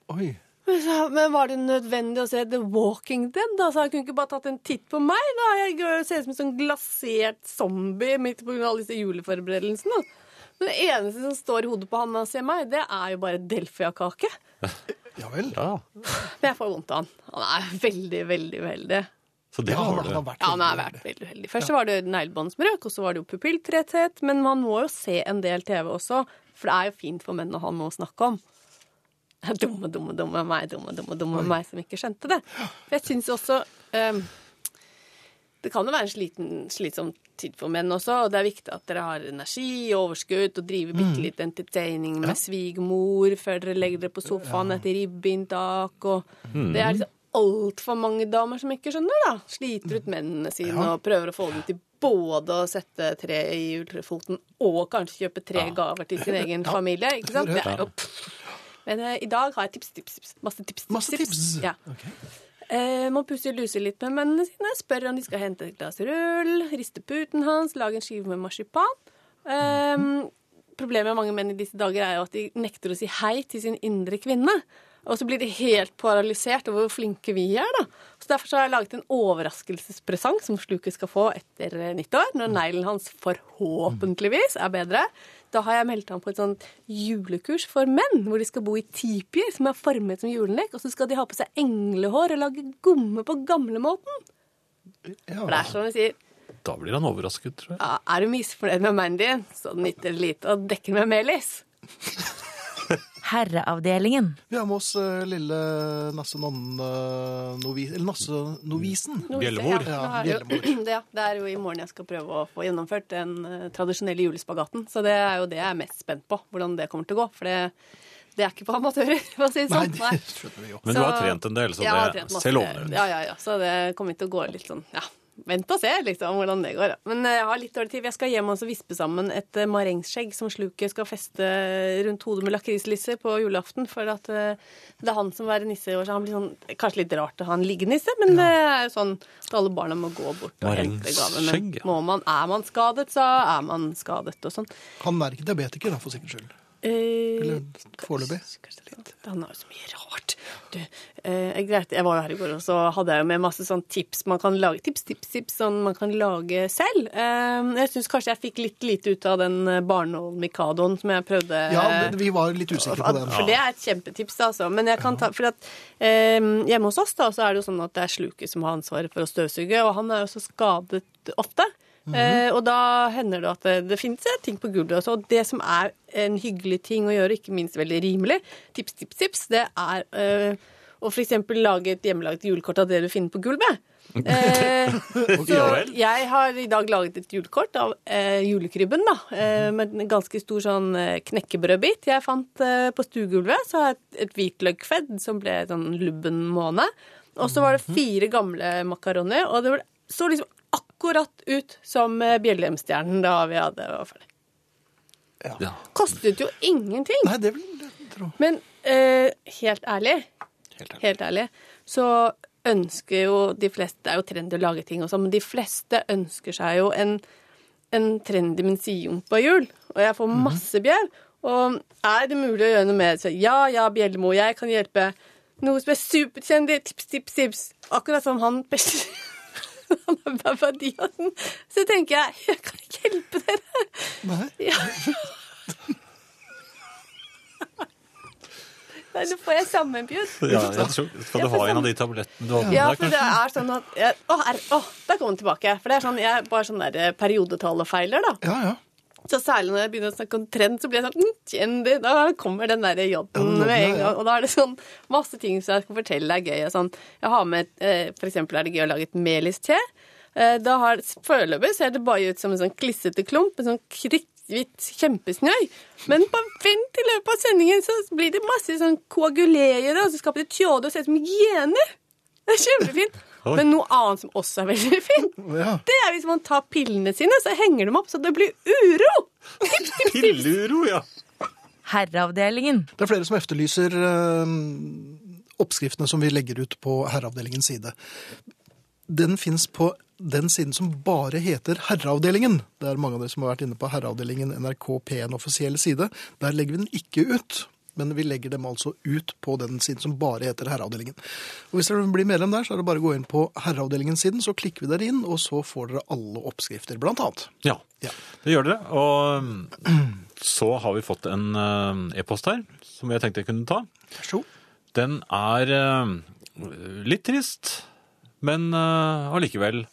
Speaker 4: Oi.
Speaker 6: Men sa- Men var det nødvendig å se The Walking Dead? da? Så jeg kunne ikke bare tatt en titt på meg? da? Jeg går- ser ut som en sånn glasert zombie midt på grunn av alle disse juleforberedelsene. Men det eneste som står i hodet på han når han ser meg, det er jo bare Delfia-kake.
Speaker 4: Ja vel.
Speaker 3: Ja,
Speaker 6: Men jeg får vondt av han. Han er veldig, veldig uheldig.
Speaker 3: så det
Speaker 4: Ja,
Speaker 3: var
Speaker 4: han har-
Speaker 3: det.
Speaker 4: han har vært
Speaker 6: Ja, han har
Speaker 4: veldig
Speaker 6: vært veldig uheldig. Først så var det neglebånd som røk, og så var det jo pupilltretthet. Men man må jo se en del TV også, for det er jo fint for menn å ha noe å snakke om. Dumme, dumme, dumme meg, dumme, dumme, dumme meg som ikke skjønte det. For jeg syns også ehm, Det kan jo være en sliten, slitsom tid for menn også, og det er viktig at dere har energi og overskudd og driver bitte litt entertaining med svigermor før dere legger dere på sofaen etter ribbeinntak og Det er liksom altfor mange damer som ikke skjønner, da. Sliter ut mennene sine og prøver å få dem til både å sette tre i ultrafoten og kanskje kjøpe tre gaver til sin egen familie. Ikke sant? Det er jo Men eh, i dag har jeg tips, tips, tips. Masse tips. tips,
Speaker 4: Masse tips.
Speaker 6: Ja.
Speaker 4: Ok.
Speaker 6: Eh, må pusse og luse litt med mennene sine. Spør om de skal hente et glass rull. Riste puten hans. Lage en skive med marsipan. Eh, problemet med mange menn i disse dager er jo at de nekter å si hei til sin indre kvinne. Og så blir de helt paralysert over hvor flinke vi er, da. Så derfor så har jeg laget en overraskelsespresang som Sluket skal få etter eh, nyttår, når neglen hans forhåpentligvis er bedre. Da har jeg meldt ham på et sånt julekurs for menn, hvor de skal bo i tipier som er formet som julelek, og så skal de ha på seg englehår og lage gomme på gamlemåten.
Speaker 4: Ja,
Speaker 6: For det er sånn de sier
Speaker 3: Da blir han overrasket, tror jeg.
Speaker 6: ja, Er du misfornøyd med mannen din, så nytter det lite å dekke med melis.
Speaker 2: Herreavdelingen.
Speaker 4: Vi har med oss eh, lille Nasse Nonne-novisen. Eller Nasse Novisen.
Speaker 6: Nå viser jeg-
Speaker 3: Bjellemor.
Speaker 6: Ja, nå har jeg jo- ja, det er jo i morgen jeg skal prøve å få gjennomført den eh, tradisjonelle julespagaten. Så det er jo det jeg er mest spent på, hvordan det kommer til å gå. For det, det er ikke for amatører, for å si det
Speaker 4: Nei,
Speaker 6: sånn.
Speaker 4: det
Speaker 6: Nei.
Speaker 4: skjønner vi jo.
Speaker 3: Men du har trent en del, så
Speaker 6: jeg har
Speaker 3: det
Speaker 6: trent masse.
Speaker 3: ser lovende ut.
Speaker 6: Ja, ja, ja. Så det kommer til å gå litt sånn ja. Vent og se liksom, hvordan det går. ja. Men eh, jeg har litt dårlig tid. Jeg skal hjem og så vispe sammen et eh, marengskjegg som sluket skal feste rundt hodet med lakrislisser på julaften. For at eh, det er han som er nisse i år, så han blir sånn Kanskje litt rart å ha en liggenisse, men det er jo sånn at alle barna må gå bort og hente gaven. Men
Speaker 3: Marengskjegg, ja.
Speaker 6: må man, er man skadet, så er man skadet og sånn.
Speaker 4: Han er ikke diabetiker, da, for sikkerhets skyld.
Speaker 6: Eh,
Speaker 4: Eller foreløpig.
Speaker 6: Kanskje det er sant. Han har jo så mye rart. Du, eh, greit, jeg var jo her i går, og så hadde jeg jo med masse sånn tips man kan lage, tips, tips, tips, sånn man kan lage selv. Eh, jeg syns kanskje jeg fikk litt lite ut av den eh, barnål-mikadoen som jeg prøvde
Speaker 4: Ja, men vi var litt usikre på
Speaker 6: Eh, at-
Speaker 4: den.
Speaker 6: For det er et kjempetips, da, altså. Men jeg kan ta, fordi at eh, hjemme hos oss da, så er det jo sånn at det er sluket som har ansvaret for å støvsuge, og han er jo så skadet ofte. eh, og da hender det at det, det finnes eh, ting på gulvet også. Og det som er en hyggelig ting å gjøre, ikke minst veldig rimelig, tips, tips, tips, det er eh, å f.eks. lage et hjemmelaget julekort av det du finner på gulvet. Eh, så
Speaker 3: Ja vel.
Speaker 6: jeg har i dag laget et julekort av eh, julekrybben, da. Eh, med en ganske stor sånn eh, knekkebrødbit jeg fant eh, på stuegulvet. Så har jeg et, et hvitløkfedd som ble sånn lubben måne. Og så var det fire gamle makaroner, og det var, så liksom akkurat ut som eh, Bjellheimstjernen da vi hadde var ferdig.
Speaker 3: Ja.
Speaker 6: Kostet jo ingenting.
Speaker 4: Nei, det vil jeg tro.
Speaker 6: Men eh, helt ærlig,
Speaker 3: Helt ærlig.
Speaker 6: helt ærlig, så ønsker jo de fleste Det er jo trendy å lage ting og sånn, men de fleste ønsker seg jo en, en trendy mensjon på jul. Og jeg
Speaker 3: Mhm.
Speaker 6: får masse bjell. Og er det mulig å gjøre noe med det? Så ja, ja, Bjellemo, jeg kan hjelpe. Noe som er superkjendis. Tips, tips, tips. Akkurat som han Han er Babadiasen. Så tenker jeg, jeg kan ikke hjelpe dere.
Speaker 4: Nei.
Speaker 6: Ja. Nei, nå får jeg sammenbjudd.
Speaker 3: Ja, jeg tror, skal du ha en av de tablettene du har med
Speaker 6: sånn- Ja,
Speaker 3: deg,
Speaker 6: for det er sånn at jeg, Å, er, å der kom den tilbake. For det er sånn, jeg er bare sånn der eh, periodetallefeiler, da.
Speaker 4: Ja, ja.
Speaker 6: Så særlig når jeg begynner å snakke om trend, så blir jeg sånn mm, Kjendis. Da kommer den der
Speaker 4: Ja,
Speaker 6: jobben
Speaker 4: den jobben,
Speaker 6: med
Speaker 4: ja,
Speaker 6: en
Speaker 4: ja.
Speaker 6: gang. Og da er det sånn masse ting som jeg skal fortelle er gøy. Jeg er Sånn, jeg har med, eh, for eksempel er det gøy å lage et meliste. Eh, Da har Foreløpig ser det bare ut som en sånn klissete klump, en sånn kritthvitt kjempesnøy. Men på vent i løpet av sendingen så blir det masse sånn koagulerende, og så skaper det tjåde og ser ut som hyener. Det er kjempefint.
Speaker 3: Oi.
Speaker 6: Men noe annet som også er veldig fint,
Speaker 4: ja.
Speaker 6: det er hvis man tar pillene sine, så henger dem opp, så det blir uro.
Speaker 3: kanskje? Pilluro, ja.
Speaker 2: Herreavdelingen.
Speaker 4: Det er flere som efterlyser eh, oppskriftene som vi legger ut på Herreavdelingens side. Den fins på den siden som bare heter Herreavdelingen. Det er mange av dere som har vært inne på Herreavdelingen NRK P1 offisiell side. Der legger vi den ikke ut. Men vi legger dem altså ut på den siden som bare heter Herreavdelingen. Og Hvis dere blir medlem der, så er det bare å gå inn på Herreavdelingen-siden, så klikker vi dere inn, og så får dere alle oppskrifter, blant annet.
Speaker 3: Ja,
Speaker 4: Ja.
Speaker 3: det gjør dere. Og um, så har vi fått en eh, e-post her som jeg tenkte jeg kunne ta.
Speaker 4: Vær så god.
Speaker 3: Den er eh, litt trist, men eh, allikevel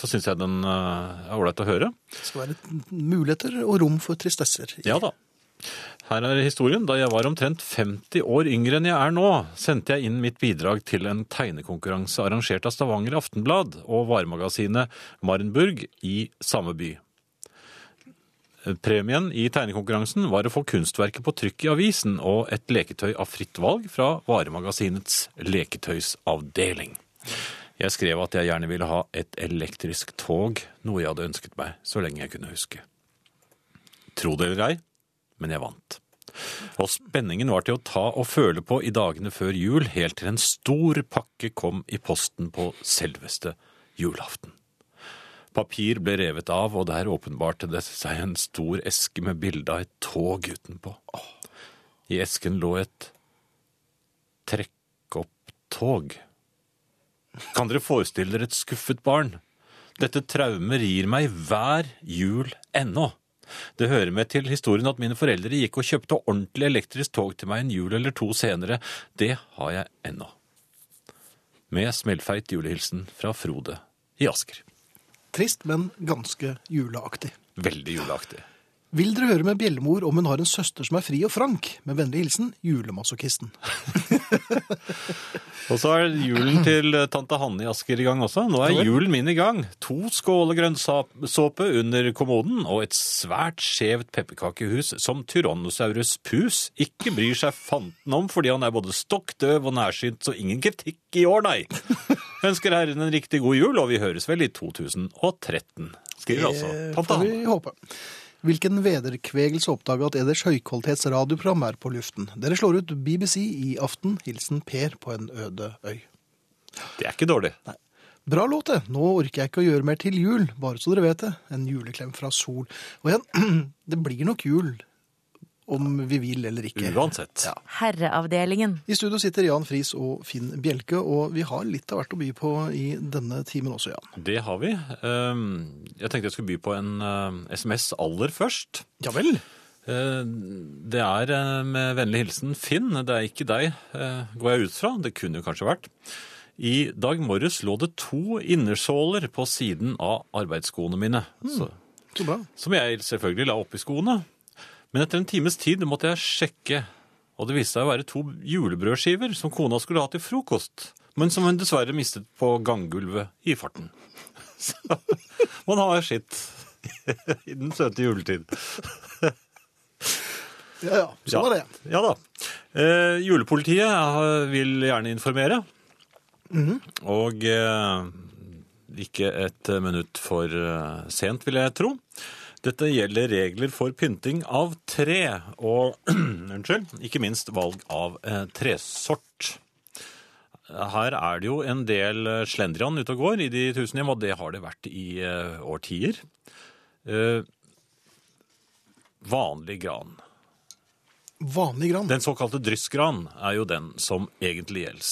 Speaker 3: så syns jeg den eh, er ålreit å høre.
Speaker 4: Det skal være muligheter og rom for tristesser.
Speaker 3: Ja da. Her er historien. Da jeg var omtrent 50 år yngre enn jeg er nå, sendte jeg inn mitt bidrag til en tegnekonkurranse arrangert av Stavanger Aftenblad og varemagasinet Marenburg i samme by. Premien i tegnekonkurransen var å få kunstverket på trykk i avisen og et leketøy av fritt valg fra varemagasinets leketøysavdeling. Jeg skrev at jeg gjerne ville ha et elektrisk tog, noe jeg hadde ønsket meg så lenge jeg kunne huske. Tro det eller ei, men jeg vant. Og spenningen var til å ta og føle på i dagene før jul, helt til en stor pakke kom i posten på selveste julaften. Papir ble revet av, og der åpenbarte det seg en stor eske med bilde av et tog utenpå. I esken lå et trekk-opp-tog. Kan dere forestille dere et skuffet barn? Dette traumet rir meg hver jul ennå. Det hører med til historien at mine foreldre gikk og kjøpte ordentlig elektrisk tog til meg en jul eller to senere. Det har jeg ennå. Med smellfeit julehilsen fra Frode i Asker.
Speaker 4: Trist, men ganske juleaktig.
Speaker 3: Veldig juleaktig.
Speaker 4: Vil dere høre med bjellemor om hun har en søster som er fri og frank? Med vennlig hilsen julemasochisten.
Speaker 3: Og så er julen til eh, tante Hanne i Asker i gang også. Nå er julen min i gang. To skåler grønnsåpe under kommoden og et svært skjevt pepperkakehus som Tyrannosaurus pus ikke bryr seg fanten om fordi han er både stokk døv og nærsynt, så ingen kritikk i år, nei. Ønsker herren en riktig god jul, og vi høres vel i 2013. Skriver altså
Speaker 4: Eh,
Speaker 3: tante
Speaker 4: Får
Speaker 3: Hanne.
Speaker 4: vi håpe. Hvilken vederkvegelse oppdaga at eders høykvalitets radioprogram er på luften? Dere slår ut BBC i aften. Hilsen Per på en øde øy.
Speaker 3: Det er ikke dårlig.
Speaker 4: Bra låt, det. Nå orker jeg ikke å gjøre mer til jul, bare så dere vet det. En juleklem fra Sol. Og igjen, det blir nok jul, om vi vil eller ikke.
Speaker 3: Uansett.
Speaker 2: Herreavdelingen.
Speaker 4: I studio sitter Jan Friis og Finn Bjelke, og vi har litt av hvert å by på i denne timen også, Jan.
Speaker 3: Det har vi. Ehm, Jeg tenkte jeg skulle by på en eh, SMS aller først.
Speaker 4: Ja vel?
Speaker 3: Eh, Det er eh, med vennlig hilsen Finn, det er ikke deg, eh, går jeg ut fra. Det kunne jo kanskje vært. I dag morges lå det to innersåler på siden av arbeidsskoene mine, så,
Speaker 4: Så bra.
Speaker 3: som jeg selvfølgelig la oppi skoene. Men etter en times tid måtte jeg sjekke, og det viste seg å være to julebrødskiver som kona skulle ha til frokost, men som hun dessverre mistet på ganggulvet i farten. Så man har sitt i den søte juletid.
Speaker 4: Ja ja, sånn
Speaker 3: Ja.
Speaker 4: var det.
Speaker 3: Ja da. Eh, julepolitiet eh, vil gjerne informere.
Speaker 4: Mhm.
Speaker 3: Og eh, ikke et eh, minutt for eh, sent, vil jeg tro. Dette gjelder regler for pynting av tre, og unnskyld, ikke minst valg av eh, tresort. Her er det jo en del eh, slendrian ute og går i de tusen hjem, og det har det vært i eh, årtier. Eh, vanlig gran.
Speaker 4: Vanlig gran.
Speaker 3: Den såkalte dryssgran er jo den som egentlig gjelds.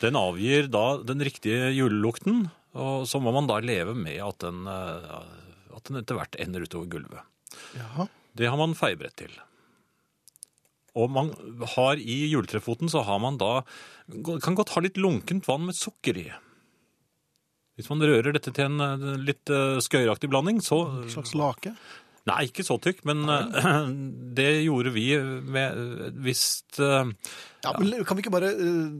Speaker 3: Den avgir da den riktige julelukten, og så må man da leve med at den, eh, at den etter hvert ender utover gulvet.
Speaker 4: Jaha.
Speaker 3: Det har man feiebrett til. Og man har i juletrefoten så har man da Kan godt ha litt lunkent vann med sukker i. Hvis man rører dette til en eh, litt eh, skøyeraktig blanding, så
Speaker 4: En slags lake.
Speaker 3: Nei, ikke så tykk, men eh, det gjorde vi med hvis eh,
Speaker 4: Ja, men Kan vi ikke bare eh,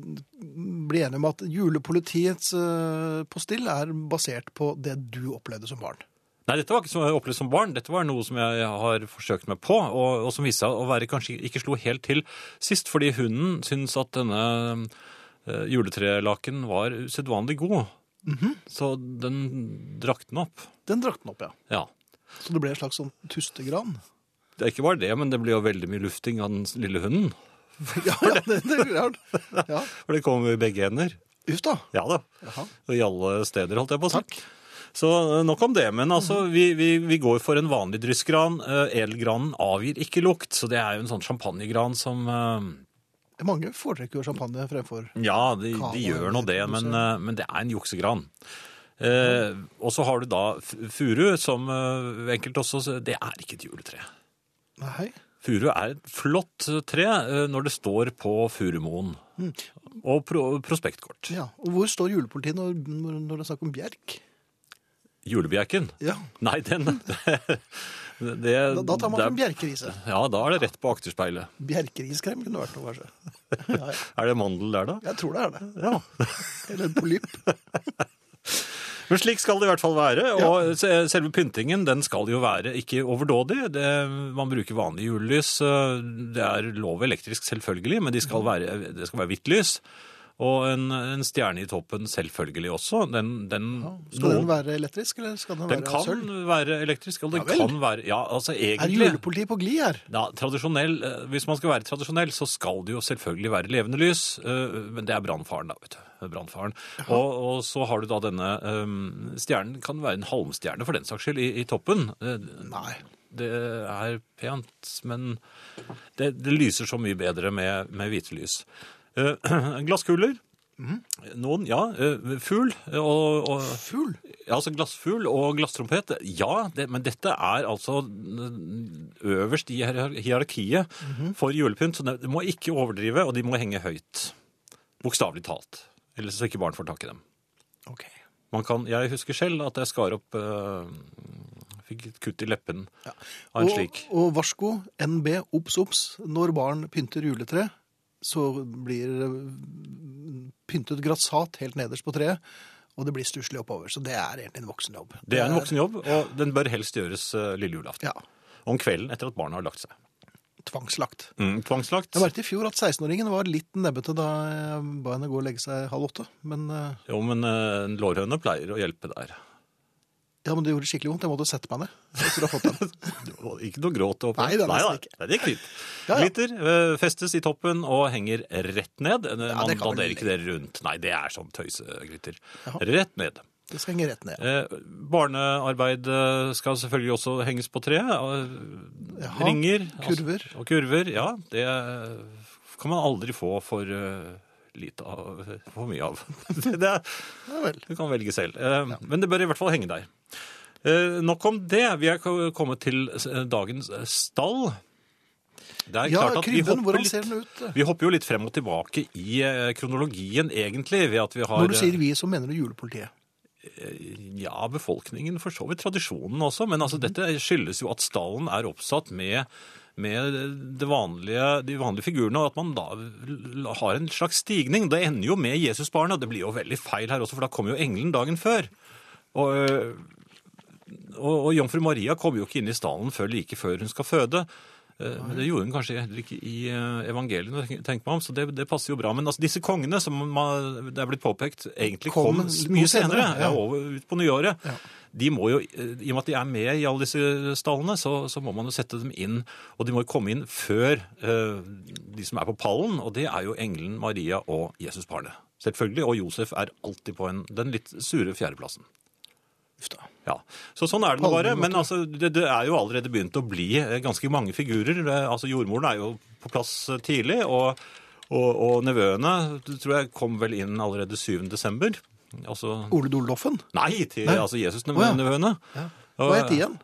Speaker 4: bli enige om at julepolitiets eh, postill er basert på det du opplevde som barn?
Speaker 3: Nei, dette var ikke som jeg opplevde som barn. Dette var noe som jeg har forsøkt meg på, og, og som viste seg å være kanskje ikke slo helt til sist, fordi hunden syns at denne eh, juletrelaken var usedvanlig god. Så den drakk den opp.
Speaker 4: Den drakk den opp, ja.
Speaker 3: Ja.
Speaker 4: Så det ble en slags sånn tustegran.
Speaker 3: Det er ikke bare det, men det blir jo veldig mye lufting av den lille hunden.
Speaker 4: Ja, ja, det, det er klart. Ja.
Speaker 3: For det kommer i begge hender.
Speaker 4: Uff da.
Speaker 3: Ja da.
Speaker 4: Jaha.
Speaker 3: Og i alle steder, holdt jeg på å si. Så eh, nok om det. Men altså, vi, vi, vi går for en vanlig dryssgran. Eh, Edelgranen avgir ikke lukt, så det er jo en sånn champagnegran som eh,
Speaker 4: Mange foretrekker jo champagne fremfor
Speaker 3: Ja, de,
Speaker 4: Kava
Speaker 3: de gjør nå
Speaker 4: eller
Speaker 3: det,
Speaker 4: noe
Speaker 3: men,
Speaker 4: sånt.
Speaker 3: eh, men det er en juksegran. Eh, og så har du da f- furu, som eh, enkelte også s- Det er ikke et juletre.
Speaker 4: Nei.
Speaker 3: Furu er et flott eh, tre eh, når det står på furumoen. Og pro prospektkort.
Speaker 4: Mm. Ja. Og hvor står julepolitiet når, når når det er snakk om bjerk?
Speaker 3: Julebjerken?
Speaker 4: Ja.
Speaker 3: Nei, den det,
Speaker 4: Da, da tar man
Speaker 3: det er-
Speaker 4: fram bjerkerise.
Speaker 3: Ja, da er det rett på akterspeilet.
Speaker 4: Bjerkeriskrem kunne vært noe, kanskje. Ja, ja.
Speaker 3: Er det mandel der, da?
Speaker 4: Jeg tror det er det. Ja. Eller en polypp.
Speaker 3: Men slik skal det i hvert fall være, og se- selve pyntingen den skal jo være ikke overdådig. Det, man bruker vanlig
Speaker 4: Mhm.
Speaker 3: julelys, øh, det er lov elektrisk selvfølgelig, men de skal være, det skal være hvitt lys. Og en, en stjerne i toppen selvfølgelig også. Den, den,
Speaker 4: Skal den
Speaker 3: noen-
Speaker 4: være elektrisk, eller skal den
Speaker 3: den
Speaker 4: være av
Speaker 3: kan
Speaker 4: sølv?
Speaker 3: være elektrisk, og den
Speaker 4: Ja vel.
Speaker 3: kan være Ja, altså
Speaker 4: Er
Speaker 3: egentlig
Speaker 4: julepolitiet på glid her?
Speaker 3: ja, tradisjonell, eh, Hvis man skal være tradisjonell, så skal det jo selvfølgelig være levende lys. eh, Men det er brannfaren, da. vet du. Brannfaren. Og, og så har du da denne eh, Stjernen kan være en halmstjerne, for den saks skyld, i, i toppen. Eh,
Speaker 4: Nei.
Speaker 3: Det er pent, men det, det lyser så mye bedre med, med hvite lys. Eh, Glasskuler. Noen, ja. eh, Fugl. Og, og
Speaker 4: Fugl?
Speaker 3: ja, altså glassfugl og glasstrompet, ja, det, men dette er altså øverst i hierar- hierarkiet
Speaker 4: Mhm.
Speaker 3: for julepynt, så de må ikke overdrive, og de må henge høyt. Bokstavelig talt. Ellers så ikke barn får tak i dem.
Speaker 4: Ok.
Speaker 3: Man kan, jeg husker selv at jeg skar opp eh, Fikk et kutt i leppen av en
Speaker 4: Og,
Speaker 3: slik.
Speaker 4: og varsko, NB, obs, obs. Når barn pynter juletre, så blir eh, pyntet grassat helt nederst på treet, og det blir stusslig oppover. Så det er egentlig en voksenjobb.
Speaker 3: Det er en voksenjobb, og den bør helst gjøres eh, lille julaften.
Speaker 4: Ja.
Speaker 3: Om kvelden etter at barna har lagt seg.
Speaker 4: Tvangslagt.
Speaker 3: Mm, tvangslagt.
Speaker 4: Jeg merket i fjor at 16-åringen var litt nebbete da jeg ba henne gå og legge seg halv åtte. Men, eh,
Speaker 3: Jo, men eh, en lårhøne pleier å hjelpe der.
Speaker 4: ja, men det gjorde skikkelig vondt. Jeg måtte sette meg ned. Jeg tror jeg har fått den.
Speaker 3: Det var Ikke noe gråt oppe.
Speaker 4: Nei, det er
Speaker 3: nei,
Speaker 4: nesten
Speaker 3: nei, det er fint.
Speaker 4: Ja, ja.
Speaker 3: Glitter eh, festes i toppen og henger rett ned. Eh, Man
Speaker 4: det kan vel
Speaker 3: danderer ikke det rundt. Nei, det er sånn tøyseglitter.
Speaker 4: Jaha.
Speaker 3: Rett ned.
Speaker 4: Det skal henge rett ned.
Speaker 3: Eh, barnearbeid eh, skal selvfølgelig også henges på treet. eh,
Speaker 4: Jaha,
Speaker 3: Ringer.
Speaker 4: kurver.
Speaker 3: Altså, og kurver, ja. Det eh, kan man aldri få for eh, lite av, for mye av. det, det er,
Speaker 4: Ja vel.
Speaker 3: du kan velge selv. Eh, Men det bør i hvert fall henge der. Eh, Nok om det. Vi er ko- kommet til s- dagens eh, stall. Det er
Speaker 4: Ja,
Speaker 3: klart at vi
Speaker 4: krybben,
Speaker 3: hopper,
Speaker 4: hvordan
Speaker 3: litt,
Speaker 4: ser den ut?
Speaker 3: vi hopper jo litt frem og tilbake i eh, kronologien, egentlig, ved at vi har
Speaker 4: Når du sier vi, så mener du julepolitiet.
Speaker 3: eh, Ja, befolkningen, for så vidt tradisjonen også. Men altså, dette skyldes jo at stallen er oppsatt med, med det vanlige, de vanlige figurene, og at man da l- har en slags stigning. Det ender jo med Jesusbarnet, og det blir jo veldig feil her også, for da kommer jo engelen dagen før. Og, øh, og, og jomfru Maria kommer jo ikke inn i stallen før like før hun skal føde. Eh, Men det gjorde hun kanskje heller ikke i eh, evangeliene, tenk- tenker man om, så det, det passer jo bra. Men altså, disse kongene, som man, det er blitt påpekt, egentlig kom,
Speaker 4: Kom litt
Speaker 3: mye
Speaker 4: senere,
Speaker 3: senere,
Speaker 4: ja.
Speaker 3: ja. over, ut på nyåret. De må jo, eh, I og med at de er med i alle disse stallene, så, så må man jo sette dem inn. Og de må jo komme inn før eh, de som er på pallen, og det er jo engelen Maria og Jesusbarnet. Selvfølgelig. Og Josef er alltid på en, den litt sure fjerdeplassen.
Speaker 4: Uff da.
Speaker 3: Ja, så Sånn er det nå bare.
Speaker 4: Palmen, måtte
Speaker 3: Men altså, det, det er jo allerede begynt å bli eh, ganske mange figurer. Eh, Altså, Jordmoren er jo på plass eh, tidlig, og, og, og nevøene det tror jeg kom vel inn allerede 7. desember. Altså,
Speaker 4: Ole Doldoffen.
Speaker 3: nei, til
Speaker 4: Nei.
Speaker 3: altså
Speaker 4: Å, ja.
Speaker 3: Jesus-nevøene.
Speaker 4: Hva het de igjen?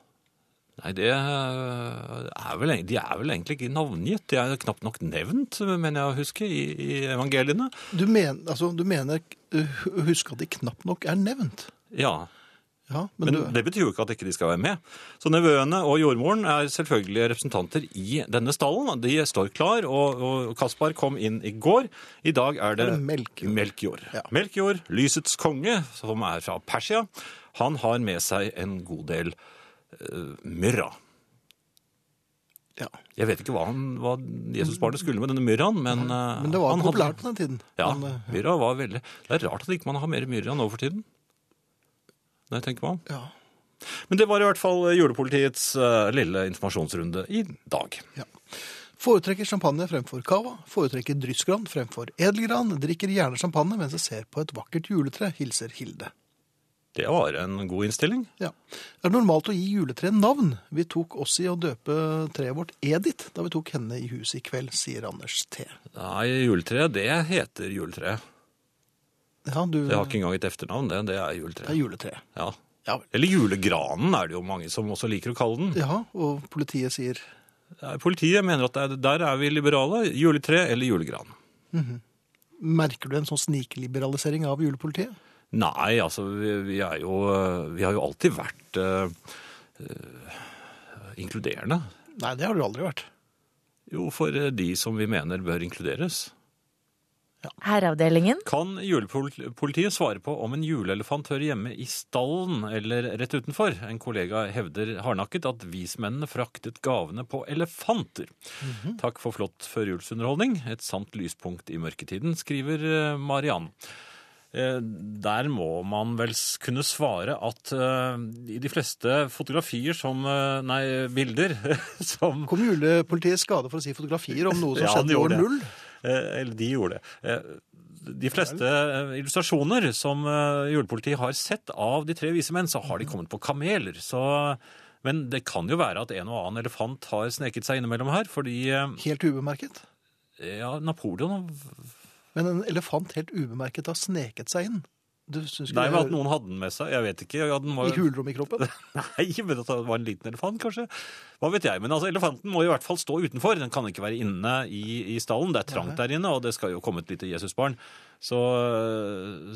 Speaker 3: Nei, det eh, er vel, de er vel egentlig ikke navngitt. De er knapt nok nevnt, mener jeg å huske, i, i evangeliene.
Speaker 4: Du, men, altså, du mener uh, Husk at de knapt nok er nevnt.
Speaker 3: Ja,
Speaker 4: Ja, men,
Speaker 3: Men
Speaker 4: du,
Speaker 3: det betyr jo ikke at ikke de skal være med. Så nevøene og jordmoren er selvfølgelig representanter i denne stallen. De står klar, og, og Kaspar kom inn i går. I dag er det,
Speaker 4: Er det Melkjord?
Speaker 3: Melkjord.
Speaker 4: Ja.
Speaker 3: Melkjord, lysets konge, som er fra Persia, han har med seg en god del eh, myrra.
Speaker 4: ja.
Speaker 3: Jeg vet ikke hva, han, hva Jesusbarnet skulle med denne myrraen, men, eh,
Speaker 4: men det var
Speaker 3: han
Speaker 4: populært på den tiden.
Speaker 3: Hadde, ja,
Speaker 4: Men, eh,
Speaker 3: myrra var veldig Det er rart at ikke man har mer myrra nå for tiden. Når jeg tenker meg om.
Speaker 4: ja.
Speaker 3: Men det var i hvert fall julepolitiets eh, lille informasjonsrunde i dag.
Speaker 4: Ja. Foretrekker champagne fremfor cava. Foretrekker dryssgran fremfor edelgran. Drikker gjerne champagne mens jeg ser på et vakkert juletre. Hilser Hilde.
Speaker 3: Det var en god innstilling.
Speaker 4: Ja. Er det normalt å gi juletre navn? Vi tok oss i å døpe treet vårt Edith da vi tok henne i huset i kveld, sier Anders T.
Speaker 3: Nei, juletre, det heter juletre.
Speaker 4: Ja, du
Speaker 3: Det har ikke engang et etternavn, det. Det er
Speaker 4: Det er
Speaker 3: juletre.
Speaker 4: juletre.
Speaker 3: Ja.
Speaker 4: Ja vel.
Speaker 3: Eller julegranen er det jo mange som også liker å kalle den.
Speaker 4: Ja, og politiet sier
Speaker 3: Eh, Politiet mener at det er- der er vi liberale. Juletre eller julegran.
Speaker 4: Merker du en sånn snikliberalisering av julepolitiet?
Speaker 3: Nei, altså vi, vi er jo eh, Vi har jo alltid vært eh, eh, inkluderende.
Speaker 4: Nei, det har du aldri vært.
Speaker 3: Jo, for eh, de som vi mener bør inkluderes.
Speaker 2: Herreavdelingen.
Speaker 3: Kan julepolitiet svare på om en juleelefant hører hjemme i stallen eller rett utenfor? En kollega hevder hardnakket at vismennene fraktet gavene på elefanter. Takk for flott førjulsunderholdning. Et sant lyspunkt i mørketiden, skriver eh, Mariann. Eh, Der må man vel s- kunne svare at eh, i de fleste fotografier som eh, Nei, bilder som
Speaker 4: Kom julepolitiet i skade for å si fotografier om noe som
Speaker 3: Ja, de
Speaker 4: skjedde i år
Speaker 3: gjorde det.
Speaker 4: null?
Speaker 3: Eh, Eller de gjorde det. Eh, De fleste eh, illustrasjoner som eh, julepolitiet har sett av de tre vise menn, så har de kommet på kameler. Så, men det kan jo være at en og annen elefant har sneket seg innimellom her, fordi eh,
Speaker 4: Helt ubemerket.
Speaker 3: ja, Napoleon
Speaker 4: Men en elefant helt ubemerket har sneket seg inn. Du syns ikke
Speaker 3: Nei,
Speaker 4: det
Speaker 3: men at
Speaker 4: hører-
Speaker 3: noen hadde den med seg. Jeg vet ikke. Ja, den var,
Speaker 4: I hulrom i kroppen?
Speaker 3: Nei, men at det var en liten elefant, kanskje. Hva vet jeg. Men altså, elefanten må i hvert fall stå utenfor. Den kan ikke være inne i, i stallen. Det er trangt der inne, og det skal jo komme et lite Jesusbarn. Så,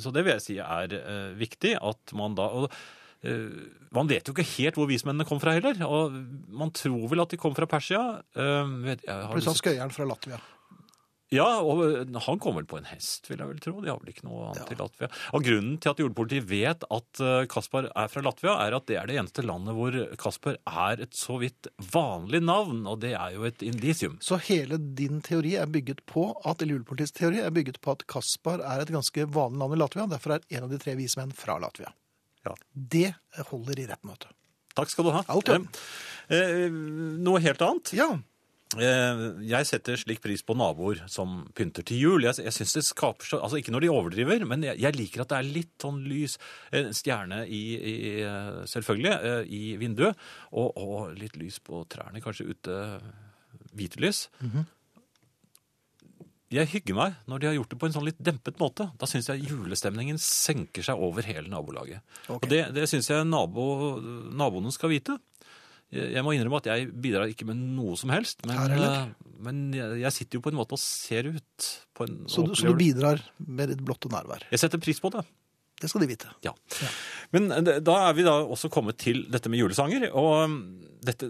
Speaker 3: så det vil jeg si er eh, viktig at man da og, eh, Man vet jo ikke helt hvor vismennene kom fra heller. Og man tror vel at de kom fra Persia. Eh, vet, jeg, har
Speaker 4: Pluss han
Speaker 3: lyst-
Speaker 4: skøyeren fra Latvia.
Speaker 3: ja, og eh, han kom vel på en hest, vil jeg vel tro. De har vel ikke noe annet i Latvia. Og grunnen til at julepolitiet vet at eh, Kasper er fra Latvia, er at det er det eneste landet hvor Kasper er et så vidt vanlig navn, og det er jo et indisium.
Speaker 4: Så hele din teori er bygget på at, eller julepolitiets teori er bygget på at Kaspar er et ganske vanlig navn i Latvia. Derfor er en av de tre vismenn fra Latvia.
Speaker 3: Ja.
Speaker 4: Det holder i retten, vet du.
Speaker 3: Takk skal du ha.
Speaker 4: Alt i orden.
Speaker 3: Eh, eh, noe helt annet.
Speaker 4: Ja,
Speaker 3: Eh, Jeg setter slik pris på naboer som pynter til jul. Jeg, jeg synes det skaper så, altså Ikke når de overdriver, men jeg, jeg liker at det er litt sånn lys. En stjerne i, i eh, Selvfølgelig, eh, i vinduet. Og, og litt lys på trærne, kanskje ute. Hvitelys.
Speaker 4: Mhm.
Speaker 3: Jeg hygger meg når de har gjort det på en sånn litt dempet måte. Da syns jeg julestemningen senker seg over hele nabolaget. Og det, det syns jeg nabo, naboene skal vite. Jeg jeg må innrømme at jeg bidrar ikke med noe som helst. Men,
Speaker 4: Her heller?
Speaker 3: eh, men jeg, jeg sitter jo på en måte og ser ut. På en,
Speaker 4: så
Speaker 3: og
Speaker 4: du, så du
Speaker 3: opplever det.
Speaker 4: bidrar med ditt blotte nærvær.
Speaker 3: Jeg setter pris på det.
Speaker 4: Det skal de vite.
Speaker 3: Ja. Men eh, da er vi da også kommet til dette med julesanger. Og eh, dette,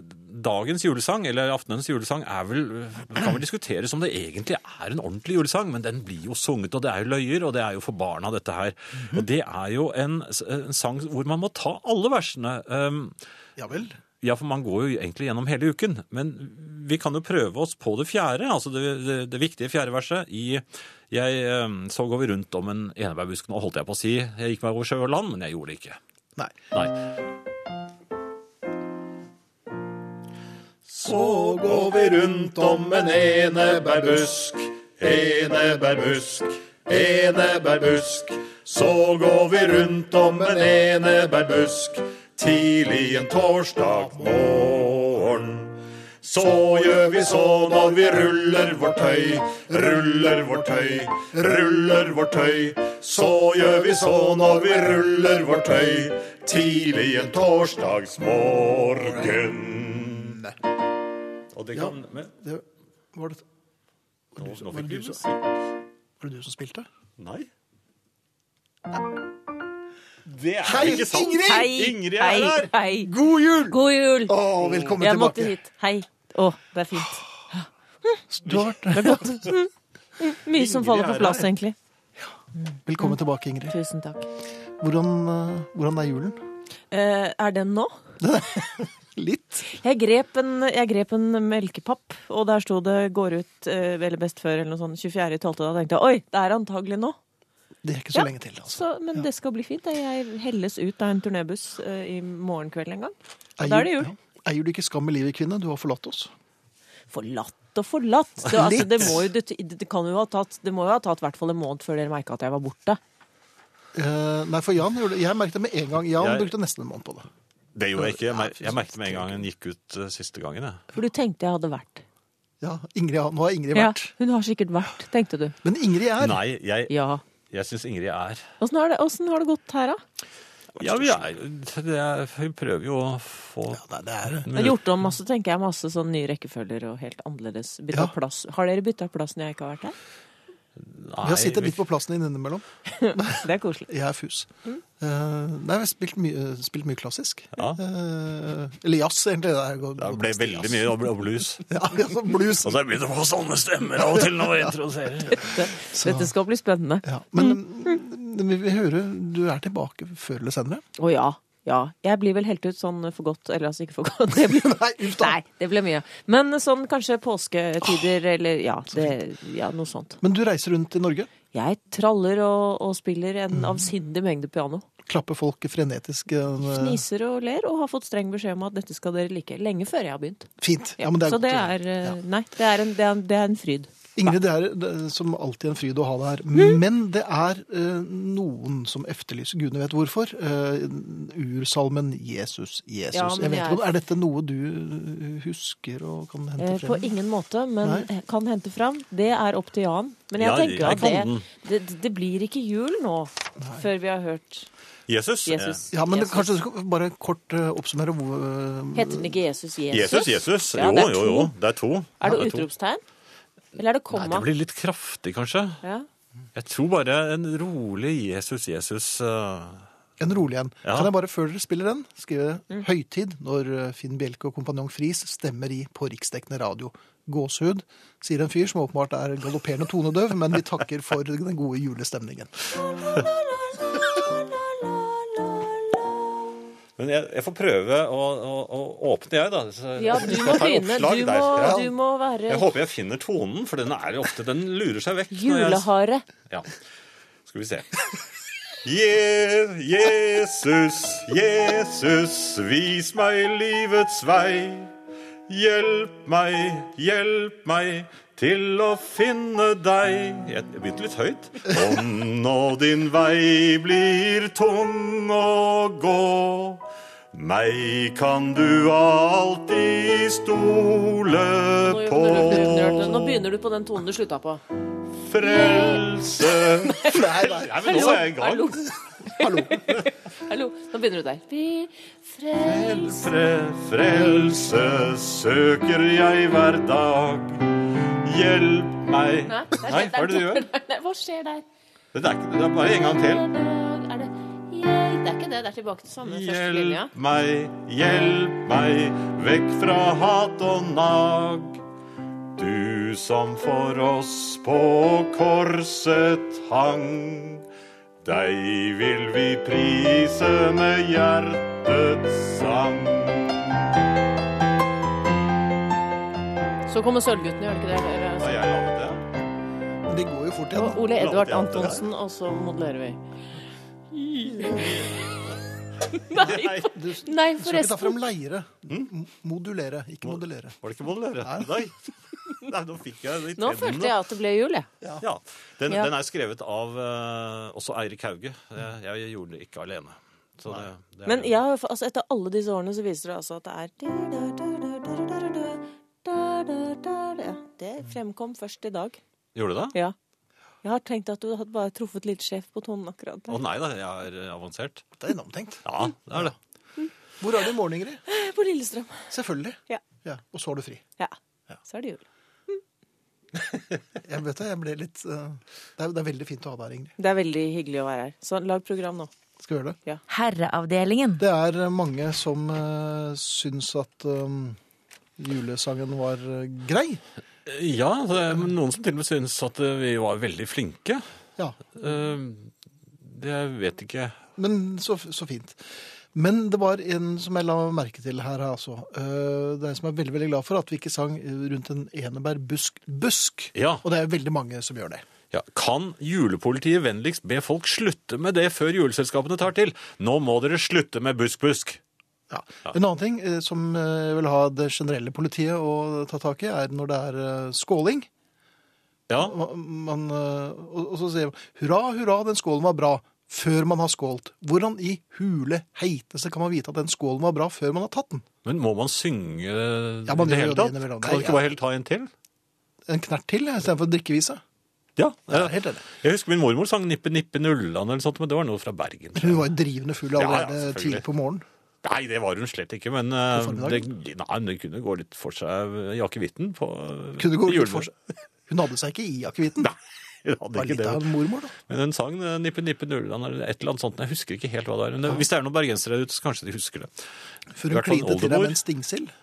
Speaker 3: dagens julesang, eller aftenens julesang, er vel, eh, kan vel diskuteres om det egentlig er en ordentlig julesang, men den blir jo sunget, og det er jo løyer, og det er jo for barna, dette her. Og det er jo en, s- en sang hvor man må ta alle versene. Um,
Speaker 4: Ja vel.
Speaker 3: ja, for man går jo egentlig gjennom hele uken, men vi kan jo prøve oss på det fjerde, altså det, det, det viktige fjerde verset i Jeg eh, så går vi rundt om en enebærbusken, og holdt jeg på å si jeg gikk meg over sjø og land, men jeg gjorde det ikke.
Speaker 4: Nei.
Speaker 3: Nei.
Speaker 5: Så går vi rundt om en enebærbusk, enebærbusk, enebærbusk. Så går vi rundt om en enebærbusk tidlig en torsdag morgen. Så gjør vi så når vi ruller vårt tøy, ruller vårt tøy, ruller vårt tøy. Så gjør vi så når vi ruller vårt tøy tidlig en torsdagsmorgen.
Speaker 3: Og det
Speaker 4: Ja.
Speaker 3: kan men,
Speaker 4: Det, var, det,
Speaker 3: nå, nå
Speaker 4: var
Speaker 3: fikk du
Speaker 4: det du
Speaker 3: musikk.
Speaker 4: var det du som spilte?
Speaker 3: Nei. Det er
Speaker 4: Hei,
Speaker 3: ikke sant.
Speaker 4: Ingrid!
Speaker 7: Hei,
Speaker 3: Ingrid
Speaker 7: hei,
Speaker 3: er her!
Speaker 7: hei.
Speaker 4: God jul!
Speaker 7: God jul!
Speaker 4: Å, velkommen
Speaker 7: Jeg måtte
Speaker 4: tilbake.
Speaker 7: hit. Hei. Å, det er fint.
Speaker 4: Du har vært...
Speaker 7: Mye som faller på plass, egentlig.
Speaker 4: Velkommen tilbake, Ingrid.
Speaker 7: Tusen takk.
Speaker 4: Hvordan, eh, hvordan er julen?
Speaker 7: Eh, er den nå?
Speaker 4: Litt.
Speaker 7: Jeg grep, en, jeg grep en melkepapp, og der sto det 'går ut eh, eller best før' eller noe sånt 24.12. Da tenkte jeg oi, det er antagelig nå.
Speaker 4: Det er ikke så
Speaker 7: Ja.
Speaker 4: lenge til, altså.
Speaker 7: Så, men det skal bli fint. da. Jeg helles ut av en turnébuss eh, i morgen kveld en gang.
Speaker 4: Er
Speaker 7: da er det jul.
Speaker 4: ja. Er jul ikke skam i livet, kvinne? Du har forlatt oss.
Speaker 7: Forlatt og forlatt. Det, altså,
Speaker 4: Litt.
Speaker 7: det, må jo, det, det, kan jo ha tatt, det må jo ha tatt i hvert fall en måned før dere merka at jeg var borte.
Speaker 4: Eh, nei, for Jan gjorde det. Jeg merket det med en gang. Jan
Speaker 3: Jeg-
Speaker 4: brukte nesten en måned på det.
Speaker 3: Det gjorde jeg ikke. Jeg mer- Jeg merket med en gang den gikk ut eh, siste gangen. Jeg.
Speaker 7: For du tenkte jeg hadde vært.
Speaker 4: Ja, Ingrid, har- nå har Ingrid
Speaker 7: Ja,
Speaker 4: vært.
Speaker 7: hun har sikkert vært, tenkte du.
Speaker 4: Men Ingrid er
Speaker 3: Nei, jeg,
Speaker 7: Ja.
Speaker 3: jeg syns Ingrid er
Speaker 7: Åssen har, det- åssen har det gått her, da?
Speaker 4: Eh.
Speaker 3: Ja, vi, er, det er, vi prøver jo å få
Speaker 4: Nei, det er
Speaker 7: Jeg har gjort om masse, tenker jeg. Masse sånn nye rekkefølger og helt annerledes. Byttet
Speaker 4: Ja.
Speaker 7: plass. Har dere bytta plass når jeg ikke har vært her?
Speaker 3: Nei,
Speaker 4: Vi har sittet litt på plassen din innimellom.
Speaker 7: Det er koselig.
Speaker 4: Jeg er fus.
Speaker 7: Mm.
Speaker 4: Eh, nei, vi har spilt mye, spilt mye klassisk.
Speaker 3: Ja.
Speaker 4: Eh, eller jazz, egentlig. Det, er,
Speaker 3: Det ble veldig mye ob- ob- blues.
Speaker 4: Ja, altså blues.
Speaker 3: Og så begynner jeg å få sånne stemmer av og til når vi introduserer.
Speaker 4: Så-
Speaker 7: Dette skal bli spennende.
Speaker 4: Ja, men mm, vi vil høre du er tilbake før eller senere.
Speaker 7: Å ja. Ja. Jeg blir vel helt ut sånn for godt. Eller altså ikke for godt. Det blir,
Speaker 4: Nei, uff da.
Speaker 7: nei, det ble mye. Men sånn kanskje påsketider eller ja, det, ja, noe sånt.
Speaker 4: Men du reiser rundt i Norge,
Speaker 7: Jeg traller og, og spiller
Speaker 4: Mm.
Speaker 7: en avsindig mengde piano.
Speaker 4: klapper folk frenetisk. eh,
Speaker 7: Fniser og ler, og har fått streng beskjed om at dette skal dere like. Lenge før jeg har begynt.
Speaker 4: Fint. Ja, men det er
Speaker 7: Så
Speaker 4: godt
Speaker 7: det
Speaker 4: å høre.
Speaker 7: er eh, Nei, det er en, det er en, det er en fryd.
Speaker 4: Ingrid, det er eh, som alltid en fryd å ha deg her.
Speaker 7: Mm.
Speaker 4: Men det er eh, noen som efterlyser, gudene vet hvorfor, eh, ursalmen 'Jesus, Jesus'.
Speaker 7: Ja, men
Speaker 4: jeg vet
Speaker 7: jeg
Speaker 4: ikke om,
Speaker 7: er-
Speaker 4: Er dette noe du eh, husker og kan hente
Speaker 7: Eh,
Speaker 4: frem?
Speaker 7: På ingen måte, men eh,
Speaker 4: Nei.
Speaker 7: kan hente fram. Det er opp til Jan. Men jeg
Speaker 3: Ja,
Speaker 7: tenker jo
Speaker 3: jeg
Speaker 7: at
Speaker 3: kan
Speaker 7: det,
Speaker 3: den.
Speaker 7: det, det blir ikke jul nå før vi har hørt
Speaker 3: Jesus. eh,
Speaker 7: Jesus.
Speaker 4: Ja, men det,
Speaker 7: Jesus.
Speaker 4: kanskje du skal bare kort eh, oppsummere hvor eh,
Speaker 7: Heter den ikke Jesus Jesus?
Speaker 3: Jesus, Jesus.
Speaker 7: Ja,
Speaker 3: Jo,
Speaker 7: det er
Speaker 3: jo,
Speaker 7: to.
Speaker 3: jo. Det er to.
Speaker 7: Er det
Speaker 3: Ja, to.
Speaker 7: utropstegn? Eller er det
Speaker 3: Nei, det
Speaker 7: komma?
Speaker 3: blir litt kraftig, kanskje.
Speaker 7: Ja.
Speaker 3: Jeg tror bare en rolig Jesus, Jesus. eh,
Speaker 4: En rolig en.
Speaker 3: Ja.
Speaker 4: Kan jeg bare før dere spiller den, skrive
Speaker 7: Mm.
Speaker 4: 'Høytid' når eh, Finn Bjelke og kompanjong Friis stemmer i på riksdekkende radio. Gåsehud, sier en fyr som åpenbart er galopperende tonedøv, men vi takker for den gode julestemningen.
Speaker 3: Men jeg, jeg får prøve å, å, å åpne, jeg, da. Så-
Speaker 7: ja, du må
Speaker 3: Jeg tar
Speaker 7: begynne.
Speaker 3: oppslag
Speaker 7: Du
Speaker 3: der.
Speaker 7: må,
Speaker 3: Ja.
Speaker 7: du må
Speaker 3: Jeg
Speaker 7: være
Speaker 3: håper jeg finner tonen, for den er jo ofte Den lurer seg vekk. når jeg-
Speaker 7: julehare.
Speaker 3: Ja. Skal vi se. Je, Jesus, Jesus, vis meg livets vei. Hjelp meg, hjelp meg til å finne deg. Jeg begynte litt høyt. Om nå din vei blir tung å gå, meg kan du alltid
Speaker 7: Nå,
Speaker 3: stole
Speaker 7: gjør-
Speaker 3: på.
Speaker 7: nå, nå, nå begynner du på den tonen du slutta på.
Speaker 3: Frelse Nei, men nå er jeg i gang.
Speaker 7: Hallo. Hallo. Nå begynner du der. Vi
Speaker 3: Frelse, frelse søker jeg hver dag. Hjelp meg
Speaker 7: Nei, det er-
Speaker 3: Nei, hva er det du gjør?
Speaker 7: Nei, Hva skjer der?
Speaker 3: Det er, ikke, det er bare en gang til.
Speaker 7: Er det Jeg- Det er ikke det. Det er tilbake til samme første linja.
Speaker 3: Hjelp meg, hjelp meg vekk fra hat og nag. Du som for oss på korset hang. Deg vil vi prise med hjertets sang.
Speaker 7: Så kommer Sølvguttene, gjør det ikke det? Eller-
Speaker 3: Ja, jeg laget det.
Speaker 4: Men det går jo fort igjen.
Speaker 7: Og
Speaker 4: da.
Speaker 7: Ole Edvard Antonsen, og så modellerer vi. Nei,
Speaker 4: Du
Speaker 7: nei,
Speaker 4: du skal ikke ta
Speaker 7: forresten.
Speaker 4: frem leire. M- Modulere, ikke modellere.
Speaker 3: Var det ikke modellere? Nei. Nei, nå fikk jeg det i
Speaker 7: Nå følte jeg at det ble jul, jeg.
Speaker 3: Ja. Den,
Speaker 7: Ja.
Speaker 3: den er skrevet av eh, også Eirik Hauge. Eh, Jeg gjorde det ikke alene. Så det, det er-
Speaker 7: Men jeg, har jo fa- altså, etter alle disse årene så viser det altså at det er Ja, Det fremkom først i dag.
Speaker 3: Gjorde du det?
Speaker 7: Ja. Jeg har tenkt at du hadde bare truffet litt sjef på tonen akkurat
Speaker 3: Å
Speaker 7: der.
Speaker 3: nei da, jeg er eh, avansert.
Speaker 4: Det er gjennomtenkt.
Speaker 3: Ja, det er det.
Speaker 4: Hvor er du i morgen, Ingrid?
Speaker 7: På Lillestrøm.
Speaker 4: Selvfølgelig.
Speaker 7: Ja.
Speaker 4: Ja, og så har du fri.
Speaker 7: Ja. Så er det jul.
Speaker 4: Jeg vet det, jeg ble litt eh, det, er, det er veldig fint å ha deg her, Ingrid.
Speaker 7: Det er veldig hyggelig å være her. Så lag program nå.
Speaker 4: Skal vi gjøre det?
Speaker 2: Herreavdelingen.
Speaker 4: Det er mange som uh, syns at eh, julesangen var eh, grei.
Speaker 3: Eh, Ja, altså, det er noen som til og med syns at eh, vi var veldig flinke.
Speaker 4: Ja.
Speaker 3: Eh, Det vet ikke
Speaker 4: Men så, så fint. Men det var en som jeg la merke til her, altså. Eh, Det er en som er veldig veldig glad for at vi ikke sang rundt en enebærbusk. Busk!
Speaker 3: Ja.
Speaker 4: Og det er veldig mange som gjør det.
Speaker 3: Ja, Kan julepolitiet vennligst be folk slutte med det før juleselskapene tar til? Nå må dere slutte med busk-busk!
Speaker 4: Ja. En annen ting eh, som eh, jeg vil ha det generelle politiet å ta tak i, er når det er eh, skåling.
Speaker 3: Ja,
Speaker 4: Man, man, eh, og, og så sier man 'hurra, hurra, den skålen var bra', før man har skålt. Hvordan i hule heiteste kan man vite at den skålen var bra før man har tatt den?
Speaker 3: Men må man synge
Speaker 4: Ja, man
Speaker 3: i det
Speaker 4: gjør jo
Speaker 3: hele
Speaker 4: det
Speaker 3: tatt?
Speaker 4: innimellom.
Speaker 3: Kan man ikke
Speaker 4: Nei,
Speaker 3: bare helt ta en til?
Speaker 4: En knert til istedenfor drikkevise.
Speaker 3: Ja,
Speaker 4: Ja,
Speaker 3: jeg,
Speaker 4: helt enig.
Speaker 3: jeg husker min mormor sang Nippe Nippe Nulland eller sånt, men det var noe fra Bergen. tror jeg.
Speaker 4: Hun var jo drivende full
Speaker 3: Ja, ja,
Speaker 4: allerede
Speaker 3: selvfølgelig.
Speaker 4: tidlig på morgenen.
Speaker 3: Nei, det var hun slett ikke, men eh, det,
Speaker 4: formiddagen?
Speaker 3: nei, men det kunne gå litt for seg eh, i akevitten på eh,
Speaker 4: Kunne gå
Speaker 3: i
Speaker 4: litt
Speaker 3: julen.
Speaker 4: for seg. Hun hadde seg ikke i akevitten.
Speaker 3: Hun hadde
Speaker 4: Var
Speaker 3: ikke
Speaker 4: litt
Speaker 3: det.
Speaker 4: av en mormor, da.
Speaker 3: Men hun sang eh, Nippe Nippe Nulleland eller et eller annet sånt. Jeg husker ikke helt hva det er. Men det- hvis det er noen bergensere der ute, så kanskje de husker det.
Speaker 4: For
Speaker 3: I
Speaker 4: hun
Speaker 3: hvert fall
Speaker 4: klinte til deg
Speaker 3: oldemor.
Speaker 4: med en stingsild.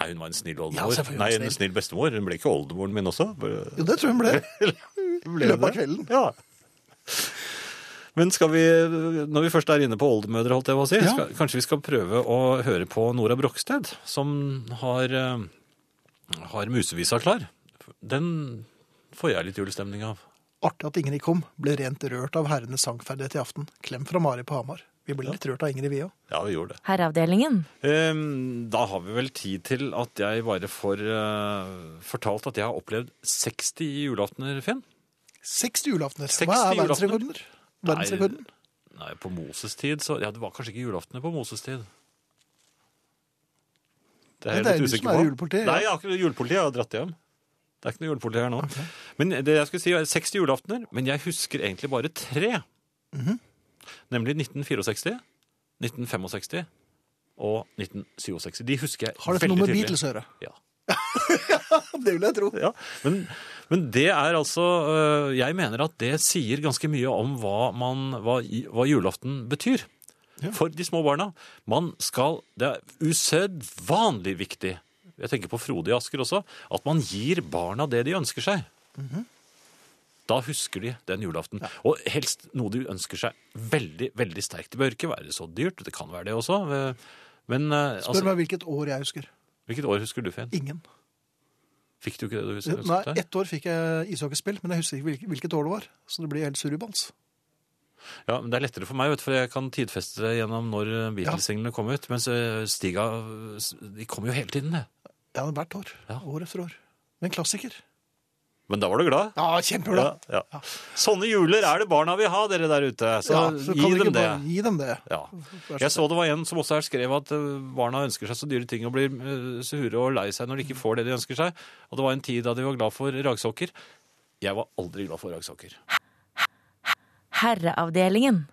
Speaker 3: Nei, hun var en snill
Speaker 4: Ja,
Speaker 3: oldemor.
Speaker 4: selvfølgelig var hun
Speaker 3: Nei,
Speaker 4: snill.
Speaker 3: en snill bestemor. Hun ble ikke oldemoren min også.
Speaker 4: Jo, det tror jeg hun ble.
Speaker 3: Ble
Speaker 4: løpet av
Speaker 3: det?
Speaker 4: kvelden.
Speaker 3: Ja. Men skal vi, når vi først er inne på oldemødre, holdt jeg på å si,
Speaker 4: Ja.
Speaker 3: skal, kanskje vi skal prøve å høre på Nora Broksted, som har, eh, har musevisa klar. Den får jeg litt julestemning av.
Speaker 4: Artig at Ingrid kom. Ble rent rørt av herrenes sangferdighet i aften. Klem fra Mari på Hamar. Vi ble litt rørt av Ingrid, vi òg.
Speaker 3: Ja, vi gjorde det.
Speaker 2: Herreavdelingen.
Speaker 3: Ehm, Da har vi vel tid til at jeg bare får eh, fortalt at jeg har opplevd 60 julaftener, Finn.
Speaker 4: 60 julaftener.
Speaker 3: 60
Speaker 4: Hva er
Speaker 3: julaftener?
Speaker 4: verdensrekorden? Verdensrekorden?
Speaker 3: Nei, på Moses tid, så Ja, det var kanskje ikke julaftener på Moses tid. Det
Speaker 4: Nei, det er du som er julepolitiet, ja.
Speaker 3: Nei, akkurat julepolitiet har dratt hjem. Det er ikke noe julepoliti her nå. Men det jeg skulle si er 60 julaftener, men jeg husker egentlig bare tre.
Speaker 4: Mhm.
Speaker 3: Nemlig 1964, 1965 og 1967. De husker jeg veldig tydelig.
Speaker 4: Har dette noe med Beatles å gjøre?
Speaker 3: Ja.
Speaker 4: Det vil jeg tro.
Speaker 3: Ja, men, men det er altså øh, Jeg mener at det sier ganske mye om hva, man, hva, i- hva julaften betyr. For de små barna. Man skal Det er usedvanlig viktig, jeg tenker på Frode i Asker også, at man gir barna det de ønsker seg.
Speaker 4: Mhm.
Speaker 3: Da husker de den julaften. Og helst noe de ønsker seg veldig, veldig sterkt. Det bør ikke være så dyrt, det kan være det også. øh, Men øh,
Speaker 4: Spør
Speaker 3: altså,
Speaker 4: meg hvilket år jeg husker.
Speaker 3: hvilket år husker du, Finn?
Speaker 4: Ingen.
Speaker 3: Fikk du ikke det du hus- husket?
Speaker 4: Nei,
Speaker 3: deg?
Speaker 4: ett år fikk jeg ishockeyspill, men jeg husker ikke hvilket, hvilket år det var. Så det blir helt surrubans.
Speaker 3: Ja, men Det er lettere for meg, vet, du, for jeg kan tidfeste det gjennom når eh, Beatles-singlene kom ut. Mens eh, Stiga eh, s- De kom jo hele tiden, det.
Speaker 4: Ja, hvert år.
Speaker 3: Ja.
Speaker 4: År etter år. Men klassiker.
Speaker 3: Men da var du glad?
Speaker 4: Ja, kjempeglad.
Speaker 3: Ja, ja. Sånne juler er det barna vil ha, dere der ute. Så
Speaker 4: Ja, så kan
Speaker 3: gi
Speaker 4: du ikke
Speaker 3: dem det.
Speaker 4: bare Gi dem det.
Speaker 3: Ja.
Speaker 4: så
Speaker 3: Jeg så det var en som også her skrev at eh, barna ønsker seg så dyre ting og blir eh, sure og lei seg når de ikke får det de ønsker seg. Og det var en tid da de var glad for ragsokker. Jeg var aldri glad for ragsokker.
Speaker 2: Herreavdelingen.